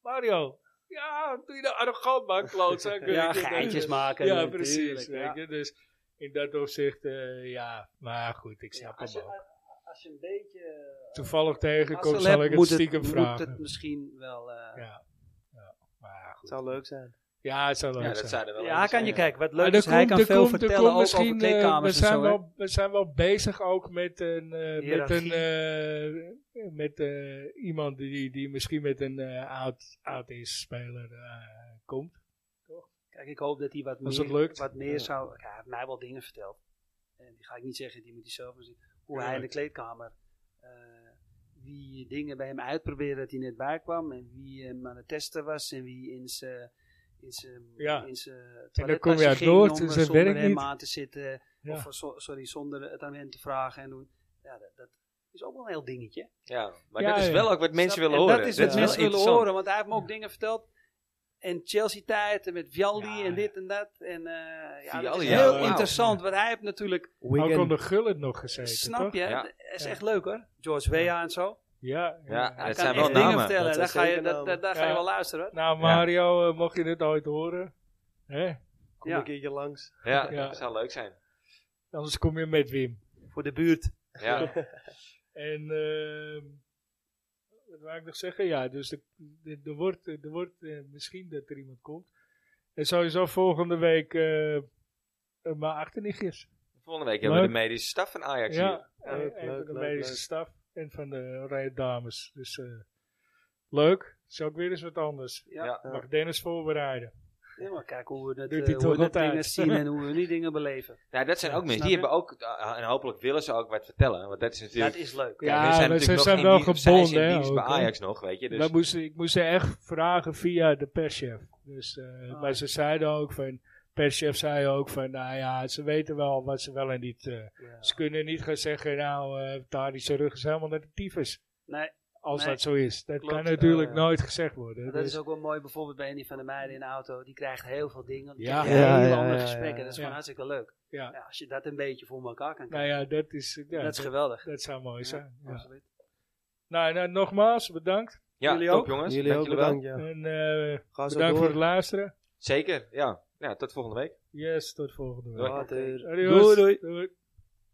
Mario, ja, doe je nou arrogant man, klootzak. Ja, Ik denk, geintjes maken. ja, natuurlijk, precies. ja. Weet je? Dus in dat opzicht, eh, ja, maar goed, ik Ja, snap als, hem je, ook. als je een beetje... eh, Toevallig tegenkomt, mazzel zal hebt, ik het moet stiekem moet vragen. het misschien wel... eh, ja. ja, maar Het goed. zou leuk zijn. Ja, het zou leuk Ja, zijn. dat zeiden wel. ja, hij kan je kijken. Wat leuk Maar Ah, is, er hij komt- kan er veel komt- er vertellen komt ook over misschien, eh, kleedkamers we en zijn zo. hè. wel, We zijn wel bezig ook met een, eh, met Hiërarchie. een eh, met eh, iemand die, die misschien met een eh, oud, oud is speler eh, komt. Kijk, ik hoop dat hij wat Als meer, het lukt. Wat meer Ja. zou. Ja, hij heeft mij wel dingen verteld. En die ga ik niet zeggen, die moet hij zelf maar zien. Hoe hij in de Tuurlijk. kleedkamer. eh, wie dingen bij hem uitprobeerde dat hij net bij kwam. En wie hem aan het testen was. En wie in zijn. In zijn. Ja. In zijn En dan kom je uit toilettasje Noord, ging dus om, eh, dat zonder werkt hem niet. aan te zitten. Ja. Of eh, zo- sorry, zonder het aan hem te vragen en doen. Ja, dat, dat is ook wel een heel dingetje. Ja, maar Ja, dat is ja. wel ook wat mensen Snap je? willen En horen. Dat is wel wat mensen willen interessant. horen, want hij heeft me ook dingen verteld. En Chelsea-tijd, en met Vialdi Ja, en ja. dit en dat. En eh ja, dat Vialdi, is ja, heel wauw. interessant, want hij heeft natuurlijk, Ook Wigan. onder Gullit nog gezeten, snap toch? je, Ja. dat is Ja. echt leuk hoor. George Weah en zo. Ja, Ja, Hij dat kan zijn echt wel dingen namen. vertellen, Dat daar zijn ga, je, zeker dat, dat, daar Ja. ga je wel luisteren hoor. Nou, Mario, eh, mocht je dit ooit horen, hè? Kom Ja. een keertje langs. Ja, Ja. dat zou leuk zijn. anders kom je met Wim. Voor de buurt. Ja. En ehm wat wou ik nog zeggen? Ja, dus er, er- er wordt, er wordt eh, misschien dat er iemand komt. En sowieso volgende week eh eh, mijn achternichtjes. Volgende week hebben we de Leuk. medische staf van Ajax hier. Ja, eh, Ja, en- leuk, en leuk, van de leuk, medische leuk. staf en van de oranje dames. Dus eh, leuk. Is ook weer eens wat anders. Ja. Ja. Mag Dennis voorbereiden. Ja, maar kijk hoe we dat, Doet eh, hij hoe toch we dat altijd. dingen zien en hoe we die dingen beleven. Nou, dat zijn Ja, ook mensen. snap Die je? hebben ook, eh, en hopelijk willen ze ook wat vertellen. Want dat is natuurlijk... Dat is leuk. Kijk, Ja, hun zijn maar ze natuurlijk nog zijn in wel dienst- zij is gebonden, hè, in dienst bij ook, hè. Ajax nog, weet je. Dus Maar moest, ik moest ze echt vragen via de perschef. Dus, eh, Ah. Maar ze zeiden ook van, perschef zei ook van, nou ja, ze weten wel wat ze wel en niet. eh, Ja. Ze kunnen niet gaan zeggen, nou, eh daar is zijn rug is helemaal naar de tyfus. Nee, Als Nee. dat zo is. Dat Klopt, kan natuurlijk eh, nooit gezegd worden. Dus, Maar Dat is ook wel mooi, bijvoorbeeld bij een van de meiden in de auto. Die krijgt heel veel dingen. Die Ja. krijgt hele Ja, ja, andere ja, ja. gesprekken. Dat is gewoon Ja. hartstikke leuk. ja. Ja, als je dat een beetje voor elkaar Nou kan krijgen. ja, dat is, ja, dat is dat, geweldig. dat zou mooi Ja, zijn. ja. absoluut. Nou, nou, nogmaals, bedankt. ja, jullie top ook? jongens. Jullie Dank ook wel. bedankt. Ja. En eh, Ga zo bedankt voor het door. luisteren. Zeker, ja. ja. Tot volgende week. Yes, tot volgende week. Doei. 啊 Later. Adios. Doei, doei. doei.